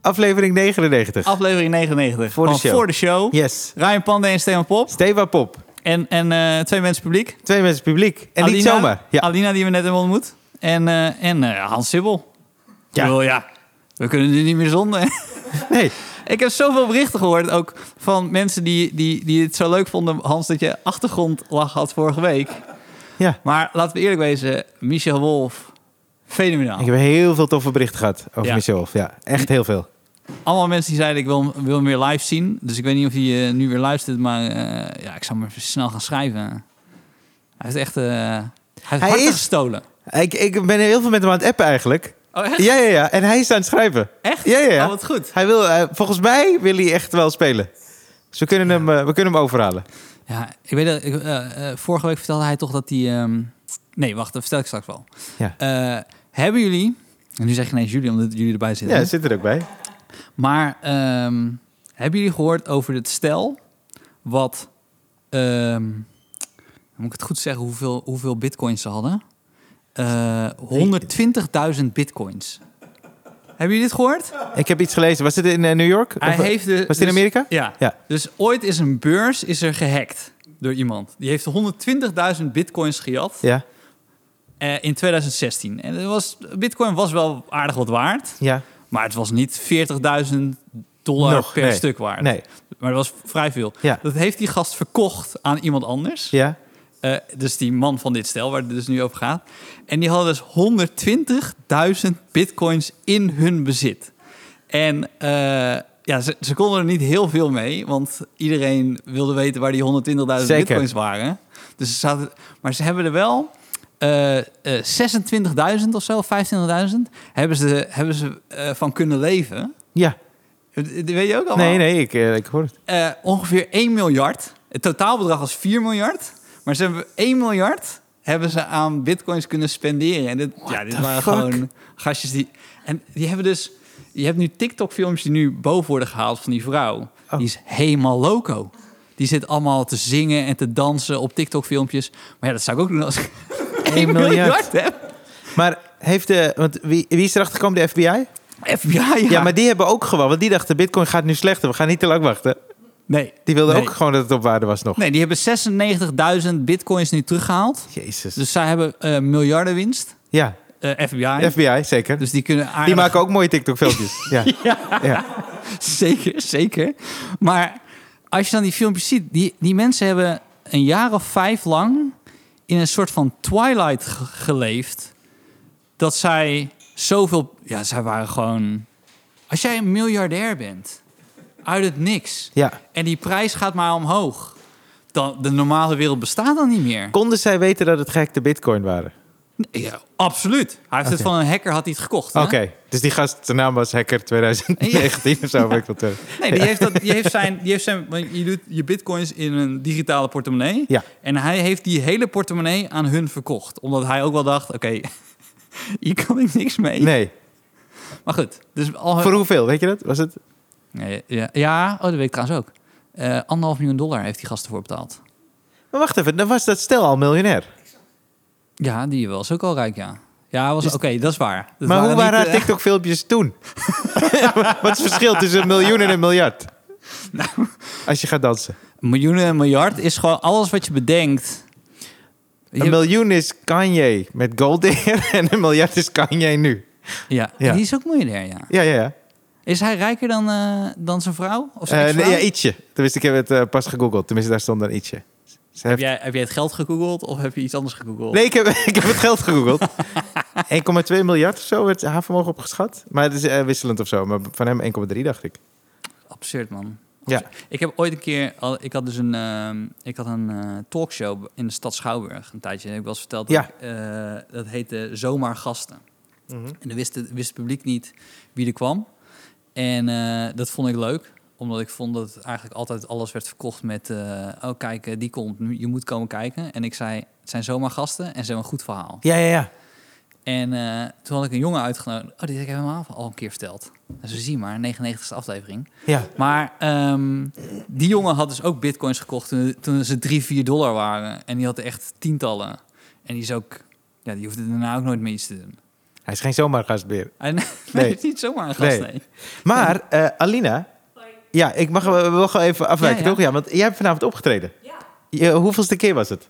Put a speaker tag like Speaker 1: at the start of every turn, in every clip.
Speaker 1: Aflevering 99.
Speaker 2: Aflevering 99.
Speaker 1: Voor de
Speaker 2: Van
Speaker 1: show.
Speaker 2: Voor de show.
Speaker 1: yes.
Speaker 2: Ryan Pande en Stefan Pop.
Speaker 1: Stewa Pop.
Speaker 2: En, en eh, twee mensen publiek.
Speaker 1: Twee mensen publiek. En niet zomaar. Ja.
Speaker 2: Alina, die we net hebben ontmoet. En, eh, en eh, Hans Sibbel.
Speaker 1: Ja.
Speaker 2: Ja. ja, we kunnen nu niet meer zonder.
Speaker 1: Nee.
Speaker 2: Ik heb zoveel berichten gehoord, ook van mensen die, die, die het zo leuk vonden, Hans, dat je achtergrondlach had vorige week.
Speaker 1: Ja.
Speaker 2: Maar laten we eerlijk wezen, Michel Wolf, fenomenaal.
Speaker 1: Ik heb heel veel toffe berichten gehad over
Speaker 2: Ja.
Speaker 1: mezelf. Ja, echt heel veel.
Speaker 2: Allemaal mensen die zeiden, ik wil, wil hem weer live zien. Dus ik weet niet of hij eh, nu weer luistert, maar eh, ja, ik zou hem even snel gaan schrijven. Hij heeft echt... eh, hij heeft
Speaker 1: Hij
Speaker 2: harten
Speaker 1: is-
Speaker 2: gestolen.
Speaker 1: Ik, ik ben heel veel met hem aan het appen eigenlijk.
Speaker 2: Oh, echt?
Speaker 1: Ja, ja, ja. En hij is aan het schrijven.
Speaker 2: Echt?
Speaker 1: Ja, ja, ja.
Speaker 2: Oh, wat goed.
Speaker 1: Hij wil, eh, volgens mij wil hij echt wel spelen. Dus we kunnen hem, eh, we kunnen hem overhalen.
Speaker 2: Ja, ik weet dat... Ik, eh, eh, vorige week vertelde hij toch dat hij... ehm, nee, wacht, dat vertel ik straks wel.
Speaker 1: Ja.
Speaker 2: Eh, hebben jullie... En nu zeg ik ineens jullie, omdat jullie erbij zitten.
Speaker 1: Ja, zit er ook bij.
Speaker 2: Maar ehm, hebben jullie gehoord over het stel wat... ehm, moet ik het goed zeggen hoeveel, hoeveel bitcoins ze hadden? Eh 120.000 bitcoins. Hebben jullie dit gehoord?
Speaker 1: Ik heb iets gelezen. Was dit in eh, New York?
Speaker 2: Hij
Speaker 1: Of-
Speaker 2: heeft de,
Speaker 1: was het in
Speaker 2: dus-
Speaker 1: Amerika?
Speaker 2: Ja.
Speaker 1: Ja.
Speaker 2: Dus ooit is een beurs is er gehackt door iemand. Die heeft 120.000 bitcoins gejat
Speaker 1: Ja,
Speaker 2: eh, in 2016. En het was, bitcoin was wel aardig wat waard.
Speaker 1: ja.
Speaker 2: Maar het was niet 40.000 dollar
Speaker 1: Nog, eh,
Speaker 2: per
Speaker 1: nee.
Speaker 2: stuk waard.
Speaker 1: Nee.
Speaker 2: Maar dat was vrij veel.
Speaker 1: Ja.
Speaker 2: Dat heeft die gast verkocht aan iemand anders.
Speaker 1: Ja.
Speaker 2: Eh, dus die man van dit stel, waar het dus nu over gaat. En die hadden dus 120.000 bitcoins in hun bezit. En eh, ja, ze, ze konden er niet heel veel mee, want iedereen wilde weten waar die 120.000
Speaker 1: Zeker.
Speaker 2: bitcoins waren. Dus ze zaten, maar ze hebben er wel eh, eh, 26.000 of zo, 25.000, hebben ze, hebben ze eh, van kunnen leven.
Speaker 1: Ja.
Speaker 2: Dat weet je ook allemaal?
Speaker 1: Nee, nee, ik, eh, ik hoor het.
Speaker 2: eh, ongeveer 1 miljard. Het totaalbedrag was 4 miljard. Maar ze hebben 1 miljard hebben ze aan bitcoins kunnen spenderen. En dit, ja, dit
Speaker 1: the
Speaker 2: waren
Speaker 1: fuck?
Speaker 2: gewoon gastjes die... En die hebben dus... Je hebt nu TikTok-films die nu boven worden gehaald van die vrouw.
Speaker 1: Oh.
Speaker 2: Die is helemaal loco. Die zit allemaal te zingen en te dansen op TikTok-filmpjes. Maar ja, dat zou ik ook doen als ik 1 miljard,
Speaker 1: miljard.
Speaker 2: heb.
Speaker 1: Maar heeft de... Want wie, wie is erachter gekomen? De FBI? Ja.
Speaker 2: FBI, ja.
Speaker 1: maar die hebben ook gewoon... Want die dachten, bitcoin gaat nu slechter. We gaan niet te lang wachten.
Speaker 2: nee.
Speaker 1: Die wilden
Speaker 2: Nee.
Speaker 1: ook gewoon dat het op waarde was nog.
Speaker 2: Nee, die hebben 96.000 bitcoins nu teruggehaald.
Speaker 1: Jezus.
Speaker 2: Dus zij hebben eh, miljarden winst.
Speaker 1: ja,
Speaker 2: Eh, FBI.
Speaker 1: FBI, zeker.
Speaker 2: Dus die kunnen aardig...
Speaker 1: die maken ook mooie TikTok-filmpjes. ja. Ja. ja.
Speaker 2: Zeker, zeker. Maar als je dan die filmpjes ziet... Die, die mensen hebben een jaar of vijf lang... in een soort van twilight ge- geleefd. Dat zij zoveel... Ja, zij waren gewoon... Als jij een miljardair bent... uit het niks... en die prijs gaat maar omhoog... dan de normale wereld bestaat dan niet meer.
Speaker 1: Konden zij weten dat het gehackte bitcoin waren?
Speaker 2: Ja, absoluut. Hij heeft het
Speaker 1: Oké.
Speaker 2: van een hacker had hij het gekocht. hè?
Speaker 1: Oké, dus die gast, zijn naam was Hacker 2019 of zo. weet ik eh. wel terug.
Speaker 2: Nee, die heeft, dat, die heeft zijn... Die heeft zijn want je doet je bitcoins in een digitale portemonnee.
Speaker 1: Ja.
Speaker 2: En hij heeft die hele portemonnee aan hun verkocht. Omdat hij ook wel dacht, oké, hier kan ik niks mee.
Speaker 1: Nee,
Speaker 2: Maar goed, dus al... hun-
Speaker 1: voor hoeveel, weet je dat? Was het?
Speaker 2: Nee, ja, ja, oh, dat weet ik trouwens ook. Eh anderhalf miljoen dollar heeft die gast ervoor betaald.
Speaker 1: Maar wacht even, dan was dat stel al miljonair.
Speaker 2: Ja, die was ook al rijk, ja. Ja, was
Speaker 1: Dus-
Speaker 2: oké, dat is waar. Dat
Speaker 1: maar hoe
Speaker 2: niet,
Speaker 1: waren haar
Speaker 2: eh,
Speaker 1: TikTok-filmpjes toen? Wat is het verschil tussen een miljoen en een miljard?
Speaker 2: Nou.
Speaker 1: Als je gaat dansen.
Speaker 2: eh, Miljoenen en miljard is gewoon alles wat je bedenkt.
Speaker 1: Een
Speaker 2: Je-
Speaker 1: miljoen is Kanye met Gold Digger en een miljard is Kanye nu.
Speaker 2: ja,
Speaker 1: Ja.
Speaker 2: die is ook miljardair, ja.
Speaker 1: Ja, ja, ja.
Speaker 2: Is hij rijker dan, eh, dan zijn vrouw? Of zijn
Speaker 1: Eh, nee,
Speaker 2: ex-vrouw?
Speaker 1: ja, ietsje. Tenminste, ik heb het eh, pas gegoogeld. Tenminste, daar stond dan ietsje. Ze
Speaker 2: Heb
Speaker 1: heeft-
Speaker 2: jij, heb jij het geld gegoogeld of heb je iets anders gegoogeld?
Speaker 1: Nee, ik heb, ik heb het geld gegoogeld. 1,2 miljard of zo werd haar vermogen opgeschat. Maar het is eh, wisselend of zo. Maar van hem 1,3 dacht ik.
Speaker 2: Absurd, man.
Speaker 1: Ja.
Speaker 2: Absurd. Ik heb ooit een keer... al- Ik had dus een, ehm, ik had een eh, talkshow in de stad Schouwburg. Een tijdje heb ik wel eens verteld. Dat,
Speaker 1: Ja.
Speaker 2: ik, eh, dat heette Zomaar Gasten.
Speaker 1: Mhm.
Speaker 2: En dan wist het, wist het publiek niet wie er kwam. En eh, dat vond ik leuk omdat ik vond dat eigenlijk altijd alles werd verkocht met... eh, oh, kijk, eh, die komt. nu, Je moet komen kijken. En ik zei, het zijn zomaar gasten en ze hebben een goed verhaal.
Speaker 1: Ja, ja, ja.
Speaker 2: En eh, toen had ik een jongen uitgenodigd. Oh, die heb ik helemaal al een keer verteld. Dus we zien maar, 99ste aflevering.
Speaker 1: Ja,
Speaker 2: Maar ehm, die jongen had dus ook bitcoins gekocht toen, toen ze 3, 4 dollar waren. En die had echt tientallen. En die is ook, ja, die hoefde daarna ook nooit meer iets te doen.
Speaker 1: Hij is geen zomaar gastbeer.
Speaker 2: En, nee,
Speaker 1: Nee.
Speaker 2: het is niet zomaar een gast,
Speaker 1: Nee.
Speaker 2: nee.
Speaker 1: Maar eh, Alina, ja, ik mag wel wel gewoon even afwijken,
Speaker 2: Ja, ja.
Speaker 1: toch? Ja, want jij hebt vanavond opgetreden.
Speaker 3: Ja,
Speaker 1: Je, eh, hoeveelste keer was het?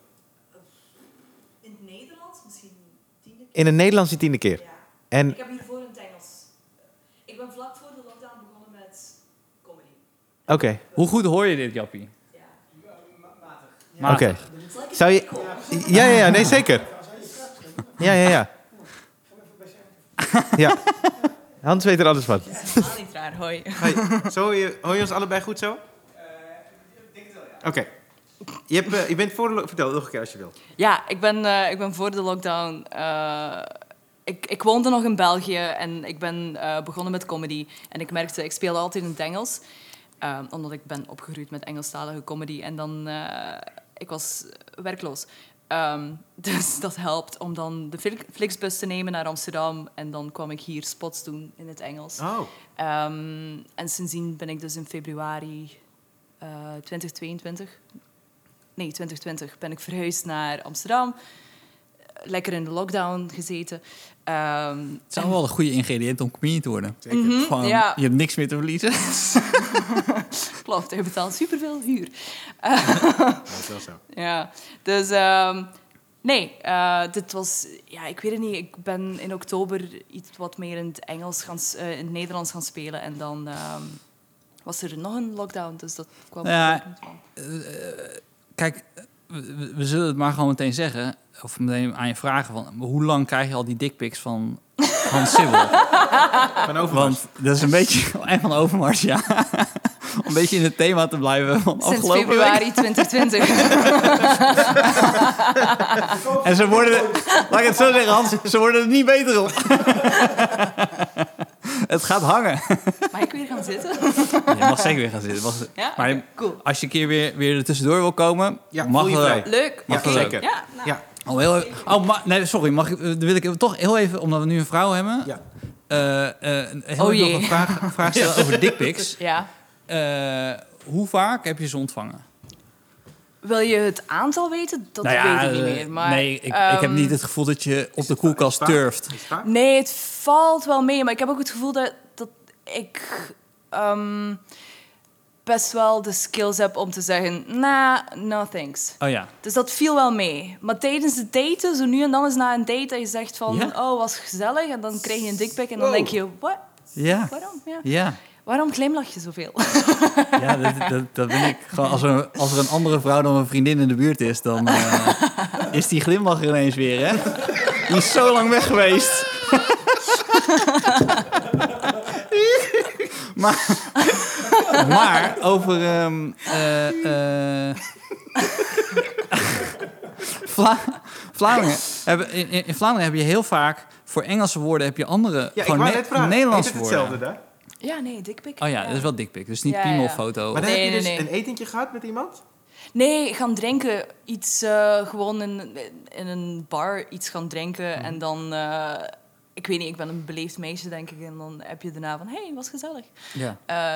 Speaker 3: in het Nederlands misschien tiende keer.
Speaker 1: In het Nederlands die tiende keer.
Speaker 3: Ja.
Speaker 1: En
Speaker 3: Ik heb hiervoor in het Engels. Ik ben vlak voor de lockdown begonnen met comedy.
Speaker 1: oké,
Speaker 2: Hoe goed hoor je dit, Jappie?
Speaker 3: Ja.
Speaker 1: oké.
Speaker 2: Matig.
Speaker 3: Het is lekker
Speaker 1: Zou je-
Speaker 3: prikkel.
Speaker 1: Ja, ja, ja, nee, zeker. Ja, ja, ja. Ja. Hans weet er alles van.
Speaker 3: Het is helemaal niet raar, hoi.
Speaker 1: Zo, hoor je, hoor je ons allebei goed zo? Oké. Je, hebt, eh, je bent voor de... lo- Vertel nog een keer als je wil.
Speaker 3: Ja, ik ben, eh, ik ben voor de lockdown. eh, ik, ik woonde nog in België en ik ben eh, begonnen met comedy. En ik merkte, ik speelde altijd in het Engels. eh, omdat ik ben opgegroeid met Engelstalige comedy. En dan, eh, ik was werkloos. Ehm, dus dat helpt om dan de Flix- Flixbus te nemen naar Amsterdam. En dan kwam ik hier spots doen in het Engels.
Speaker 1: Oh.
Speaker 3: Ehm, en sindsdien ben ik dus in februari eh, 2022, nee 2020, ben ik verhuisd naar Amsterdam. Lekker in de lockdown gezeten. Ehm,
Speaker 2: Het zou wel een goede ingrediënt om comedian te worden.
Speaker 1: Zeker.
Speaker 3: Mhm,
Speaker 2: Gewoon,
Speaker 3: ja.
Speaker 2: je hebt niks meer te verliezen.
Speaker 3: klopt, je betaalt superveel huur.
Speaker 1: Dat is wel zo.
Speaker 3: Ja, dus ehm, nee, eh, dit was, ja, ik weet het niet. Ik ben in oktober iets wat meer in het Engels gaan, s- eh, in het Nederlands gaan spelen. En dan ehm, was er nog een lockdown, dus dat kwam
Speaker 2: Ja.
Speaker 3: er ook niet van.
Speaker 2: Kijk, we, we zullen het maar gewoon meteen zeggen. Of meteen aan je vragen van... Hoe lang krijg je al die dickpics van Hans Sibbel?
Speaker 1: Van overmars.
Speaker 2: Want dat is een beetje... En van Overmars, ja. Om een beetje in het thema te blijven van
Speaker 3: Sinds
Speaker 2: afgelopen week.
Speaker 3: februari 2020.
Speaker 2: En ze worden... Laat ik het zo zeggen, Hans. Ze worden er niet beter op. het gaat hangen.
Speaker 3: Mag ik weer gaan zitten?
Speaker 2: Je mag zeker weer gaan zitten. Mag-
Speaker 3: Ja?
Speaker 2: Maar
Speaker 3: Oké, cool.
Speaker 2: als je een keer weer, weer er tussendoor wil komen...
Speaker 1: Ja,
Speaker 2: mag
Speaker 1: voel je
Speaker 2: dat
Speaker 1: vrij.
Speaker 2: ook.
Speaker 3: Leuk.
Speaker 1: Ja,
Speaker 3: oké.
Speaker 1: zeker.
Speaker 3: Ja, nou,
Speaker 1: Ja,
Speaker 2: Oh, heel, oh ma- nee, sorry. Mag ik, eh, dan wil ik even- toch heel even, omdat we nu een vrouw hebben...
Speaker 1: ja.
Speaker 2: eh, eh, heel
Speaker 3: Oh
Speaker 2: even
Speaker 3: jee.
Speaker 2: nog een vraag, vraag stellen over dickpics.
Speaker 3: dus, ja.
Speaker 2: Eh, hoe vaak heb je ze ontvangen?
Speaker 3: Wil je het aantal weten? Dat weet ik niet meer. Maar,
Speaker 2: Nou eh, nee, ik, ik heb
Speaker 3: ehm,
Speaker 2: niet het gevoel dat je op de koelkast
Speaker 1: vaak?
Speaker 2: turft.
Speaker 1: Is het waar?
Speaker 3: Nee, het valt wel mee. Maar ik heb ook het gevoel dat, dat ik ehm, best wel de skills heb om te zeggen... Nah, no thanks.
Speaker 2: Oh ja.
Speaker 3: Dus dat viel wel mee. Maar tijdens het daten, zo nu en dan is na een date... dat je zegt van,
Speaker 2: Ja?
Speaker 3: oh, was gezellig. En dan krijg je een dikpik en dan
Speaker 1: Wow.
Speaker 3: denk je... Wat?
Speaker 2: Ja,
Speaker 3: Waarom? Ja.
Speaker 2: ja.
Speaker 3: Waarom glimlach je zoveel?
Speaker 2: ja dat, dat, dat ben ik. Gewoon als, er, als er een andere vrouw dan mijn vriendin in de buurt is, dan eh, is die glimlach er ineens weer, hè? Die is zo lang weg geweest. maar, maar over... ehm, eh, eh, Vla- Vlaanderen. hebben- In, in in Vlaanderen heb je heel vaak... Voor Engelse woorden heb je andere...
Speaker 1: Ja, ik
Speaker 2: gewoon
Speaker 1: wou
Speaker 2: Ne-
Speaker 1: net vragen.
Speaker 2: Nederlandse
Speaker 1: Is het
Speaker 2: woorden.
Speaker 1: hetzelfde daar?
Speaker 3: ja, nee, dikpik.
Speaker 2: Oh ja, dat is wel dikpik. Dus niet
Speaker 3: Ja, ja.
Speaker 2: piemelfoto.
Speaker 1: Maar dan
Speaker 3: Nee,
Speaker 1: heb je dus
Speaker 3: nee, nee.
Speaker 1: een etentje gehad met iemand?
Speaker 3: Nee, gaan drinken. Iets eh, gewoon in, in een bar iets gaan drinken.
Speaker 2: Mhm.
Speaker 3: En dan, eh, ik weet niet, ik ben een beleefd meisje, denk ik. En dan heb je daarna van, hé, hey, was gezellig.
Speaker 2: Ja.
Speaker 3: Eh,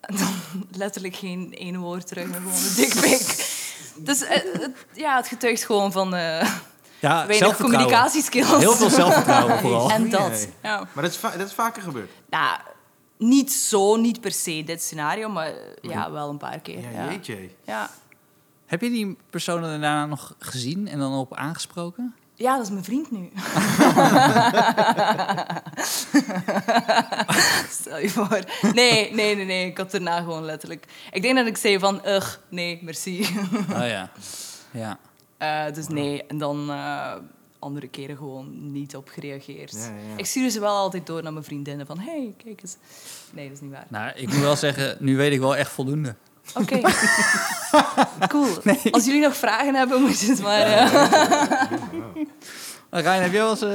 Speaker 3: en dan letterlijk geen ene woord terug, maar gewoon een dikpik. Dus eh, het- ja, het getuigt gewoon van eh
Speaker 2: ja
Speaker 3: weinig
Speaker 2: zelfvertrouwen.
Speaker 3: communicatieskills.
Speaker 2: Heel veel zelfvertrouwen vooral.
Speaker 3: En dat,
Speaker 1: Goeie.
Speaker 3: ja.
Speaker 1: Maar dat is, va- dat is vaker gebeurd.
Speaker 3: Nou, niet zo, niet per se dit scenario, maar eh, ja, wel een paar keer.
Speaker 1: Ja,
Speaker 3: Ja,
Speaker 1: jeetje.
Speaker 3: ja.
Speaker 2: Heb je die personen daarna nog gezien en dan op aangesproken?
Speaker 3: ja dat is mijn vriend nu. Stel je voor. Nee, nee, nee, nee. Ik had daarna gewoon letterlijk... Ik denk dat ik zei van, ugh, nee, merci.
Speaker 2: Oh ja. Ja.
Speaker 3: Eh, dus nee, en dan eh, andere keren gewoon niet op gereageerd.
Speaker 1: Ja, ja, ja.
Speaker 3: Ik stuurde ze wel altijd door naar mijn vriendinnen van, hey, kijk eens. Nee, dat is niet waar.
Speaker 2: Nou, ik moet wel zeggen, nu weet ik wel echt voldoende.
Speaker 3: Oké. cool. Als jullie nog vragen hebben, moet je het maar... eh,
Speaker 2: Maar Ryan, heb jij wel eens... eh,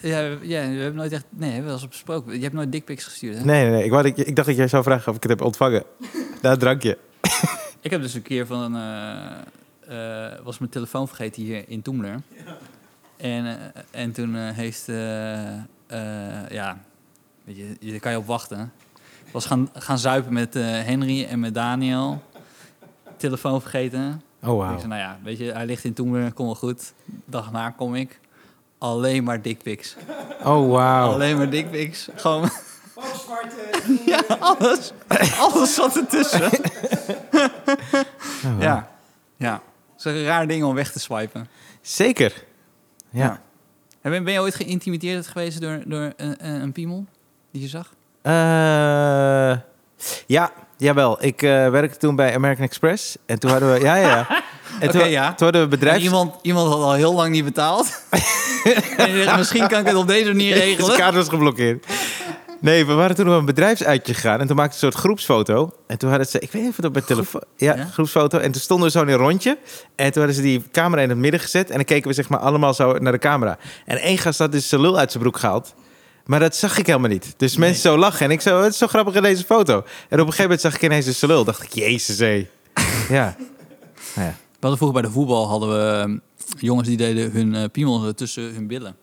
Speaker 2: ja, ja, we hebben nooit echt... Nee, we hebben wel eens besproken. Je hebt nooit dickpics gestuurd, hè?
Speaker 1: Nee, nee, nee. Ik, wou dat ik, ik dacht dat jij zou vragen of ik het heb ontvangen. Daar drank je.
Speaker 2: Ik heb dus een keer van... eh, eh, was mijn telefoon vergeten hier in Toemler. En, eh, en toen eh, heeft... eh, eh, ja, weet je, je- daar kan je op wachten. Ik was gaan, gaan zuipen met eh, Henry en met Daniel. Telefoon vergeten.
Speaker 1: Oh,
Speaker 2: Ik zei, nou ja, weet je, hij ligt in Toemler, kom wel goed. Dag na kom ik. alleen maar dickpics.
Speaker 1: Oh, wauw.
Speaker 2: Alleen maar dickpics. Gewoon
Speaker 4: Ook zwarte.
Speaker 2: ja, alles. Alles zat ertussen.
Speaker 1: Oh,
Speaker 2: ja. Ja. Het is een raar ding om weg te swipen.
Speaker 1: Zeker. Ja.
Speaker 2: Ja. En Ben ben je ooit geïntimideerd geweest door, door een, een een piemel die je zag?
Speaker 1: Eh, ja, jawel. Ik eh, werkte toen bij American Express. En toen hadden we... Ja, ja, ja. En
Speaker 2: Oké,
Speaker 1: toen,
Speaker 2: ja.
Speaker 1: toen hadden we bedrijfs...
Speaker 2: En Iemand, iemand had al heel lang niet betaald. en je dacht, misschien kan ik het op deze manier
Speaker 1: De
Speaker 2: regelen.
Speaker 1: kaart was geblokkeerd. Nee, we waren toen op een bedrijfsuitje gegaan. En toen maakten we een soort groepsfoto. En toen hadden ze... Ik weet niet of het op mijn telefoon... Ja,
Speaker 2: ja?
Speaker 1: groepsfoto. En toen stonden we zo in een rondje. En toen hadden ze die camera in het midden gezet. En dan keken we zeg maar allemaal zo naar de camera. En één gast had dus zijn lul uit zijn broek gehaald. Maar dat zag ik helemaal niet. Dus mensen zo lachen. En ik zo, het is zo grappig in deze foto. En op een gegeven moment zag ik ineens de lul. Dacht ik, jezus hé. Ja. Nou ja.
Speaker 2: We hadden vroeger bij de voetbal hadden we ehm, jongens die deden hun eh, piemel eh, tussen hun billen.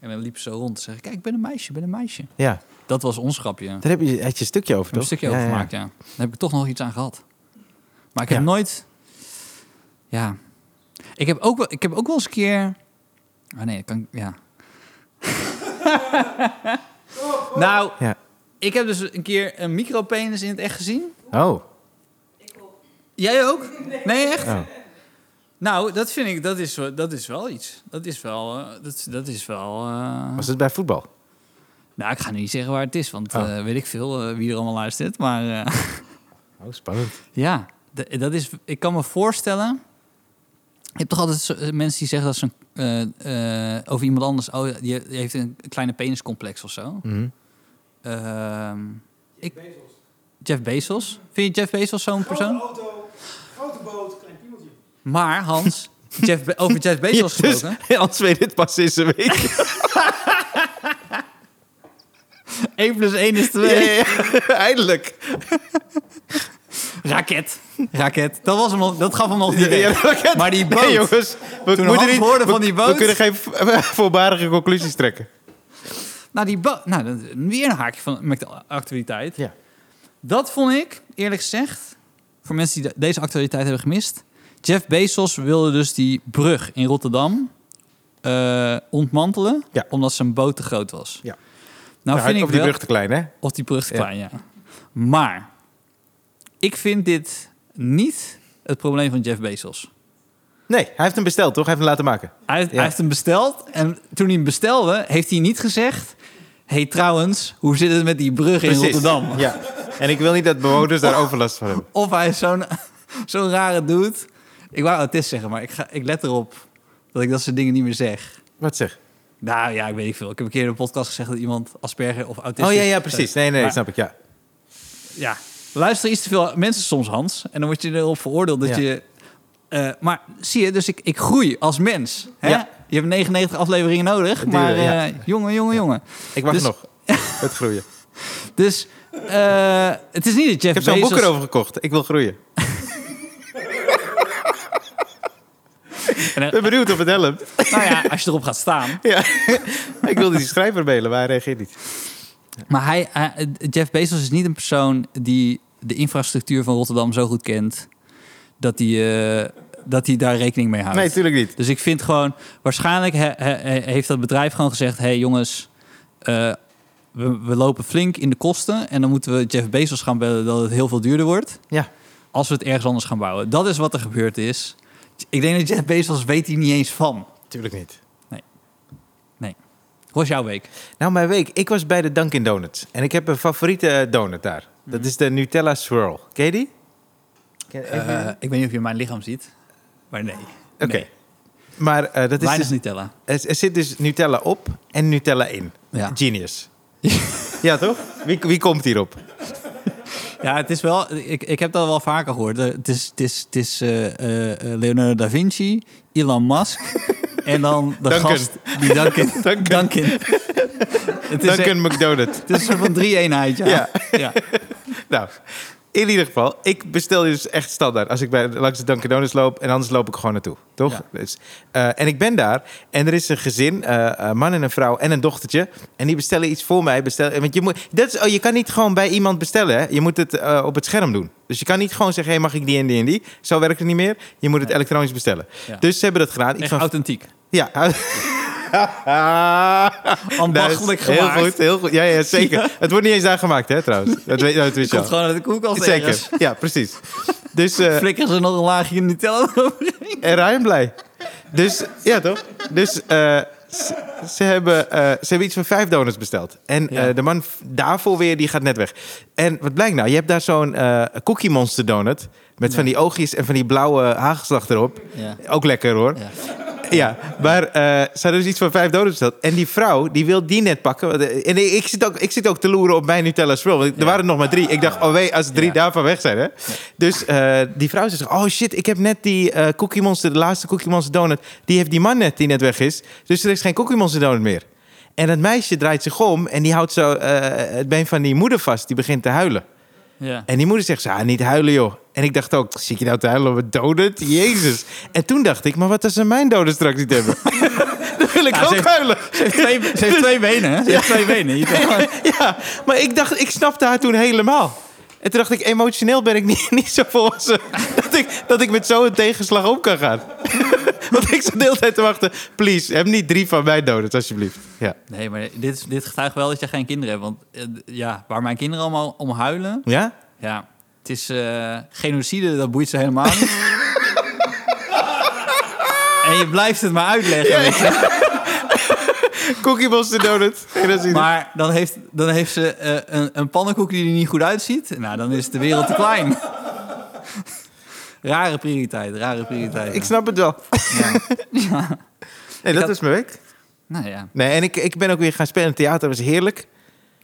Speaker 2: En we liepen zo rond te zeggen, kijk, ik ben een meisje, ik ben een meisje.
Speaker 1: ja,
Speaker 2: Dat was ons grapje. Daar heb
Speaker 1: daar heb je, had je een stukje over,
Speaker 2: ik een
Speaker 1: toch?
Speaker 2: stukje
Speaker 1: Ja,
Speaker 2: over
Speaker 1: ja, ja.
Speaker 2: gemaakt, ja. Daar heb ik toch nog iets aan gehad. Maar ik heb
Speaker 1: Ja.
Speaker 2: nooit... Ja. Ik heb, ook wel, ik heb ook wel eens een keer... Ah nee, dat kan ik- Ja. nou,
Speaker 1: Ja.
Speaker 2: ik heb dus een keer een micropenis in het echt gezien.
Speaker 1: Oh.
Speaker 2: Jij ook? Nee, echt?
Speaker 1: Oh.
Speaker 2: Nou, dat vind ik, dat is, wel- dat is wel iets. Dat is wel, eh, dat, dat is wel... eh,
Speaker 1: Was het bij voetbal?
Speaker 2: Nou, ik ga nu niet zeggen waar het is, want
Speaker 1: Oh.
Speaker 2: eh, weet ik veel eh, wie er allemaal luistert. Maar eh,
Speaker 1: Oh, spannend.
Speaker 2: ja, d- dat is, ik kan me voorstellen... Je hebt toch altijd zo- eh, mensen die zeggen dat ze een, eh, eh, over iemand anders... Oh, die die heeft een kleine peniscomplex of zo.
Speaker 1: Mhm.
Speaker 2: Ehm, ik, Jeff Bezos. Vind je Jeff Bezos zo'n
Speaker 4: Grote
Speaker 2: persoon?
Speaker 4: auto, grote boot, klein piemeltje.
Speaker 2: Maar Hans, Jeff Be- over Jeff Bezos
Speaker 1: Jezus,
Speaker 2: gesproken.
Speaker 1: dus, Als weet dit pas is een week.
Speaker 2: 1 plus 1 is 2.
Speaker 1: Eindelijk.
Speaker 2: Raket. Raket. Dat, was hem nog, dat gaf hem nog die
Speaker 1: Ja,
Speaker 2: idee.
Speaker 1: raket.
Speaker 2: Maar die boot.
Speaker 1: Nee, jongens. We, moeten
Speaker 2: Toen Hans
Speaker 1: niet,
Speaker 2: hoorde
Speaker 1: we-
Speaker 2: van die
Speaker 1: We
Speaker 2: boot.
Speaker 1: kunnen geen v- voorbarige conclusies trekken.
Speaker 2: Nou, die bo- nou, dat- weer een haakje van met de actualiteit.
Speaker 1: Ja.
Speaker 2: Dat vond ik, eerlijk gezegd, voor mensen die de- deze actualiteit hebben gemist. Jeff Bezos wilde dus die brug in Rotterdam eh, ontmantelen.
Speaker 1: Ja.
Speaker 2: Omdat zijn boot te groot was.
Speaker 1: Ja.
Speaker 2: Nou,
Speaker 1: Nou,
Speaker 2: vind ik
Speaker 1: of die
Speaker 2: wel-
Speaker 1: brug te klein, hè?
Speaker 2: Of die brug te
Speaker 1: Ja.
Speaker 2: klein, ja. Maar ik vind dit niet het probleem van Jeff Bezos.
Speaker 1: Nee, hij heeft hem besteld, toch? Hij heeft hem laten maken.
Speaker 2: Hij, heeft-
Speaker 1: Ja.
Speaker 2: hij heeft hem besteld en toen hij hem bestelde, heeft hij niet gezegd... hey, trouwens, hoe zit het met die brug in Rotterdam?
Speaker 1: Ja. En ik wil niet dat bewoners daar overlast van hebben.
Speaker 2: Of hij is zo'n zo'n rare dude. Ik wou autist zeggen, maar ik, ga, ik let erop dat ik dat soort dingen niet meer zeg.
Speaker 1: Wat zeg?
Speaker 2: Nou ja, ik weet niet veel. Ik heb een keer in een podcast gezegd dat iemand Asperger of autist
Speaker 1: Oh ja, ja, precies. Nee, nee,
Speaker 2: Maar-
Speaker 1: snap ik, ja.
Speaker 2: Ja. Luister iets te veel mensen soms, Hans. En dan word je erop veroordeeld dat
Speaker 1: Ja.
Speaker 2: je... eh, maar zie je, dus ik, ik groei als mens. Hè?
Speaker 1: Ja.
Speaker 2: Je hebt 99 afleveringen nodig,
Speaker 1: Duur,
Speaker 2: maar eh,
Speaker 1: ja.
Speaker 2: jongen, jongen, jongen.
Speaker 1: Ik wacht
Speaker 2: Dus-
Speaker 1: nog. Het groeien.
Speaker 2: Dus eh, het is niet dat
Speaker 1: Ik
Speaker 2: Jeff
Speaker 1: heb zo'n
Speaker 2: Bezos...
Speaker 1: boek erover gekocht. Ik wil groeien.
Speaker 2: En,
Speaker 1: Ik ben benieuwd of het helpt.
Speaker 2: eh, nou ja, als je erop gaat staan.
Speaker 1: Ja. ik wilde die schrijver mailen, maar hij reageert
Speaker 2: Nou,
Speaker 1: niet.
Speaker 2: Maar hij, hij- Jeff Bezos is niet een persoon die de infrastructuur van Rotterdam zo goed kent... dat hij, eh, dat hij daar rekening mee houdt.
Speaker 1: Nee, tuurlijk niet.
Speaker 2: Dus ik vind gewoon, waarschijnlijk he- he- he- heeft dat bedrijf gewoon gezegd: hé hey jongens, eh, we, we lopen flink in de kosten. En dan moeten we Jeff Bezos gaan bellen dat het heel veel duurder wordt.
Speaker 1: Ja.
Speaker 2: Als we het ergens anders gaan bouwen. Dat is wat er gebeurd is. Ik denk dat Jeff Bezos weet hier niet eens van.
Speaker 1: Tuurlijk niet.
Speaker 2: Hoe was jouw week?
Speaker 1: Nou, mijn week. Ik was bij de Dunkin' Donuts. En ik heb een favoriete eh, donut daar.
Speaker 2: Mhm.
Speaker 1: Dat is de Nutella Swirl. Ken je die?
Speaker 2: Eh, ik weet niet of je mijn lichaam ziet. Maar nee.
Speaker 1: Oké. Maar eh, dat is
Speaker 2: Weinig
Speaker 1: dus,
Speaker 2: niet tellen.
Speaker 1: er, er zit dus Nutella op en Nutella in.
Speaker 2: Ja.
Speaker 1: Genius. ja, toch? Wie, wie komt hierop?
Speaker 2: Ja, het is wel. Ik, ik heb dat wel vaker gehoord. Eh, Het is, het is, het is eh, eh, eh, Leonardo da Vinci, Elon Musk en dan de
Speaker 1: Duncan.
Speaker 2: gast die Duncan.
Speaker 1: Duncan.
Speaker 2: Duncan. het, is,
Speaker 1: Dunkin' McDonut.
Speaker 2: het is een soort van drie eenheid. Ja.
Speaker 1: Ja.
Speaker 2: Ja.
Speaker 1: Nou, in ieder geval, ik bestel dus echt standaard. Als ik bij, langs de Dunkin' Donuts loop en anders loop ik gewoon naartoe, toch?
Speaker 2: Ja.
Speaker 1: Dus, eh, en ik ben daar en er is een gezin, eh, een man en een vrouw en een dochtertje. En die bestellen iets voor mij. Bestellen, want je, moet, dat is, oh, je kan niet gewoon bij iemand bestellen, hè? Je moet het eh, op het scherm doen. Dus je kan niet gewoon zeggen, hey, mag ik die en die en die? Zo werkt het niet meer. Je moet het elektronisch bestellen.
Speaker 2: Ja.
Speaker 1: Dus ze hebben dat gedaan. Ik
Speaker 2: Echt
Speaker 1: van,
Speaker 2: authentiek.
Speaker 1: ja,
Speaker 2: ambachtelijk
Speaker 1: Nee,
Speaker 2: gemaakt.
Speaker 1: Heel goed, heel goed. Ja, ja zeker. Het wordt niet eens daar gemaakt, hè, trouwens. Dat weet, dat weet je
Speaker 2: Komt
Speaker 1: al.
Speaker 2: gewoon uit de koelkast
Speaker 1: Zeker,
Speaker 2: ergens.
Speaker 1: ja, precies. Dus, eh,
Speaker 2: Flikkeren ze nog een laagje Nutella eroverheen.
Speaker 1: en Ryan blij. Dus, ja toch? Dus eh, ze, ze hebben, eh, ze hebben iets van vijf donuts besteld. En
Speaker 2: Ja.
Speaker 1: eh, de man v- daarvoor weer, die gaat net weg. En wat blijkt nou? Je hebt daar zo'n eh, Cookie Monster donut... met van die oogjes en van die blauwe hagelslag erop.
Speaker 2: Ja.
Speaker 1: Ook lekker hoor.
Speaker 2: Ja.
Speaker 1: Ja, maar eh, ze hadden dus iets van vijf doden besteld. En die vrouw, die wil die net pakken. Want, eh, En ik zit, ook, ik zit ook te loeren op mijn Nutella Swirl. Want er waren er nog maar drie. Ik dacht, oh wee, als drie
Speaker 2: Ja.
Speaker 1: daarvan weg zijn, hè. Dus eh, die vrouw zegt, oh shit, ik heb net die eh, Cookie Monster, de laatste Cookie Monster donut. Die heeft die man net, die net weg is. Dus er is geen Cookie Monster donut meer. En dat meisje draait zich om en die houdt zo eh, het been van die moeder vast. Die begint te huilen.
Speaker 2: Ja.
Speaker 1: En die moeder zegt, ah, niet huilen joh. En ik dacht ook, zie ik je nou te huilen om een donut? Jezus. En toen dacht ik, maar wat als ze mijn donut straks niet hebben? Dan wil ik
Speaker 2: Nou,
Speaker 1: ook
Speaker 2: ze heeft-
Speaker 1: huilen.
Speaker 2: Ze heeft twee, ze heeft twee benen, hè? Ze heeft twee benen. Je kan gewoon-
Speaker 1: Ja, maar ik dacht, ik snapte haar toen helemaal. En toen dacht ik, emotioneel ben ik niet, niet zo volwassen. Dat ik, dat ik met zo'n tegenslag om kan gaan. Want ik zat de hele tijd te wachten. Please, heb niet drie van mijn donuts, alsjeblieft. Ja.
Speaker 2: Nee, maar dit, is- dit getuigt wel dat je geen kinderen hebt. Want eh, d- ja, waar mijn kinderen allemaal om huilen...
Speaker 1: Ja?
Speaker 2: Ja, het is eh, genocide, dat boeit ze helemaal niet. en je blijft het maar uitleggen. weet je.
Speaker 1: Cookie Monster donut. En dat is ieder-
Speaker 2: Maar dan heeft, dan heeft ze eh, een, een pannenkoek die er niet goed uitziet. Nou, dan is de wereld te klein. rare prioriteit, rare prioriteit.
Speaker 1: Ik snap het wel. Nee, dat
Speaker 2: had-
Speaker 1: is mijn week.
Speaker 2: Nou ja,
Speaker 1: Nee, en ik, ik ben ook weer gaan spelen in het theater. Dat was heerlijk.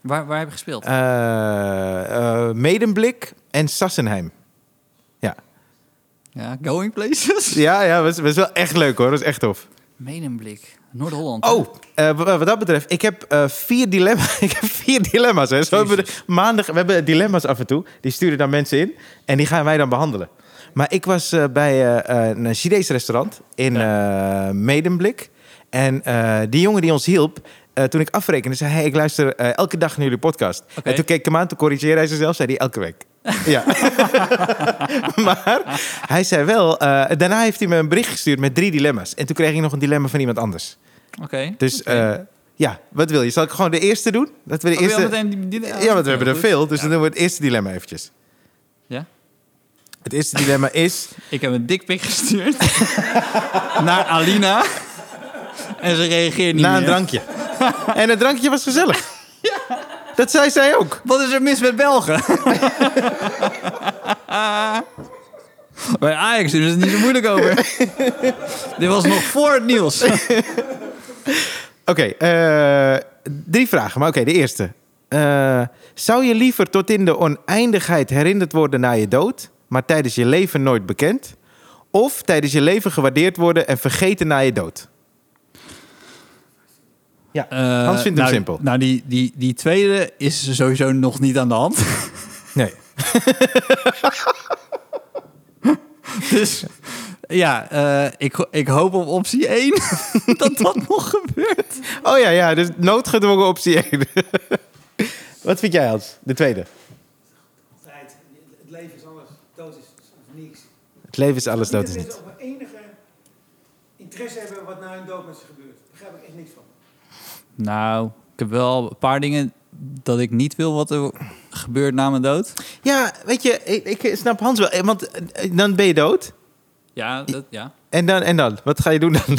Speaker 2: waar, waar heb je gespeeld?
Speaker 1: eh eh, Medemblik en Sassenheim. Ja,
Speaker 2: Ja, Going Places?
Speaker 1: ja, ja was, was wel echt leuk hoor. Was echt tof.
Speaker 2: Medemblik, Noord-Holland.
Speaker 1: Oh, eh, wa- wat dat betreft, ik heb eh, vier dilemma's. ik heb vier dilemma's. Hè. Zo hebben we de- maandag, we hebben dilemma's af en toe. Die sturen dan mensen in en die gaan wij dan behandelen. Maar ik was eh, bij eh, een Chinees restaurant in eh, Medemblik. En eh, die jongen die ons hielp, eh, toen ik afrekende, zei hij... ik luister eh, elke dag naar jullie podcast.
Speaker 2: Oké.
Speaker 1: En toen keek ik hem aan, toen corrigeerde hij zichzelf, zei hij elke week. ja. maar hij zei wel... eh, daarna heeft hij me een bericht gestuurd met drie dilemma's. En toen kreeg ik nog een dilemma van iemand anders.
Speaker 2: Oké.
Speaker 1: Dus eh, ja, wat wil je? Zal ik gewoon de eerste doen? Dat we de
Speaker 2: Oh,
Speaker 1: eerste...
Speaker 2: wil je al meteen die- die-
Speaker 1: Ja, want we hebben er
Speaker 2: Goed.
Speaker 1: veel. Dus
Speaker 2: Ja.
Speaker 1: dan doen we het eerste dilemma eventjes.
Speaker 2: Ja?
Speaker 1: Het eerste dilemma is...
Speaker 2: Ik heb een dikpik gestuurd naar Alina. En ze reageert niet
Speaker 1: na een
Speaker 2: meer.
Speaker 1: drankje. en het drankje was gezellig. Dat zei zij ook.
Speaker 2: Wat is er mis met Belgen? Bij Ajax is het niet zo moeilijk over. Dit was nog voor het nieuws.
Speaker 1: Oké, eh, drie vragen. Maar oké, de eerste. Eh, zou je liever tot in de oneindigheid herinnerd worden na je dood... maar tijdens je leven nooit bekend? Of tijdens je leven gewaardeerd worden en vergeten na je dood? Ja,
Speaker 2: Eh,
Speaker 1: Hans vindt
Speaker 2: nou,
Speaker 1: hem simpel.
Speaker 2: Nou, die, die, die tweede is sowieso nog niet aan de hand.
Speaker 1: Nee.
Speaker 2: Dus ja, eh, ik, ik hoop op optie 1 dat dat nog gebeurt.
Speaker 1: Oh ja, ja, dus noodgedwongen optie 1. Wat vind jij, Hans? De tweede.
Speaker 4: Tijd. Het leven is alles. Dood is is niks.
Speaker 1: Het leven is alles, dood
Speaker 4: Dat
Speaker 1: is niet.
Speaker 4: Mensen op een enige interesse hebben wat na hun dood met ze gebeurt. Daar begrijp ik echt niks van.
Speaker 2: Nou, ik heb wel een paar dingen dat ik niet wil wat er gebeurt na mijn dood.
Speaker 1: Ja, weet je, ik, ik snap Hans wel. eh, Want eh, dan ben je dood.
Speaker 2: Ja, dat, ja.
Speaker 1: En dan, en dan? Wat ga je doen dan?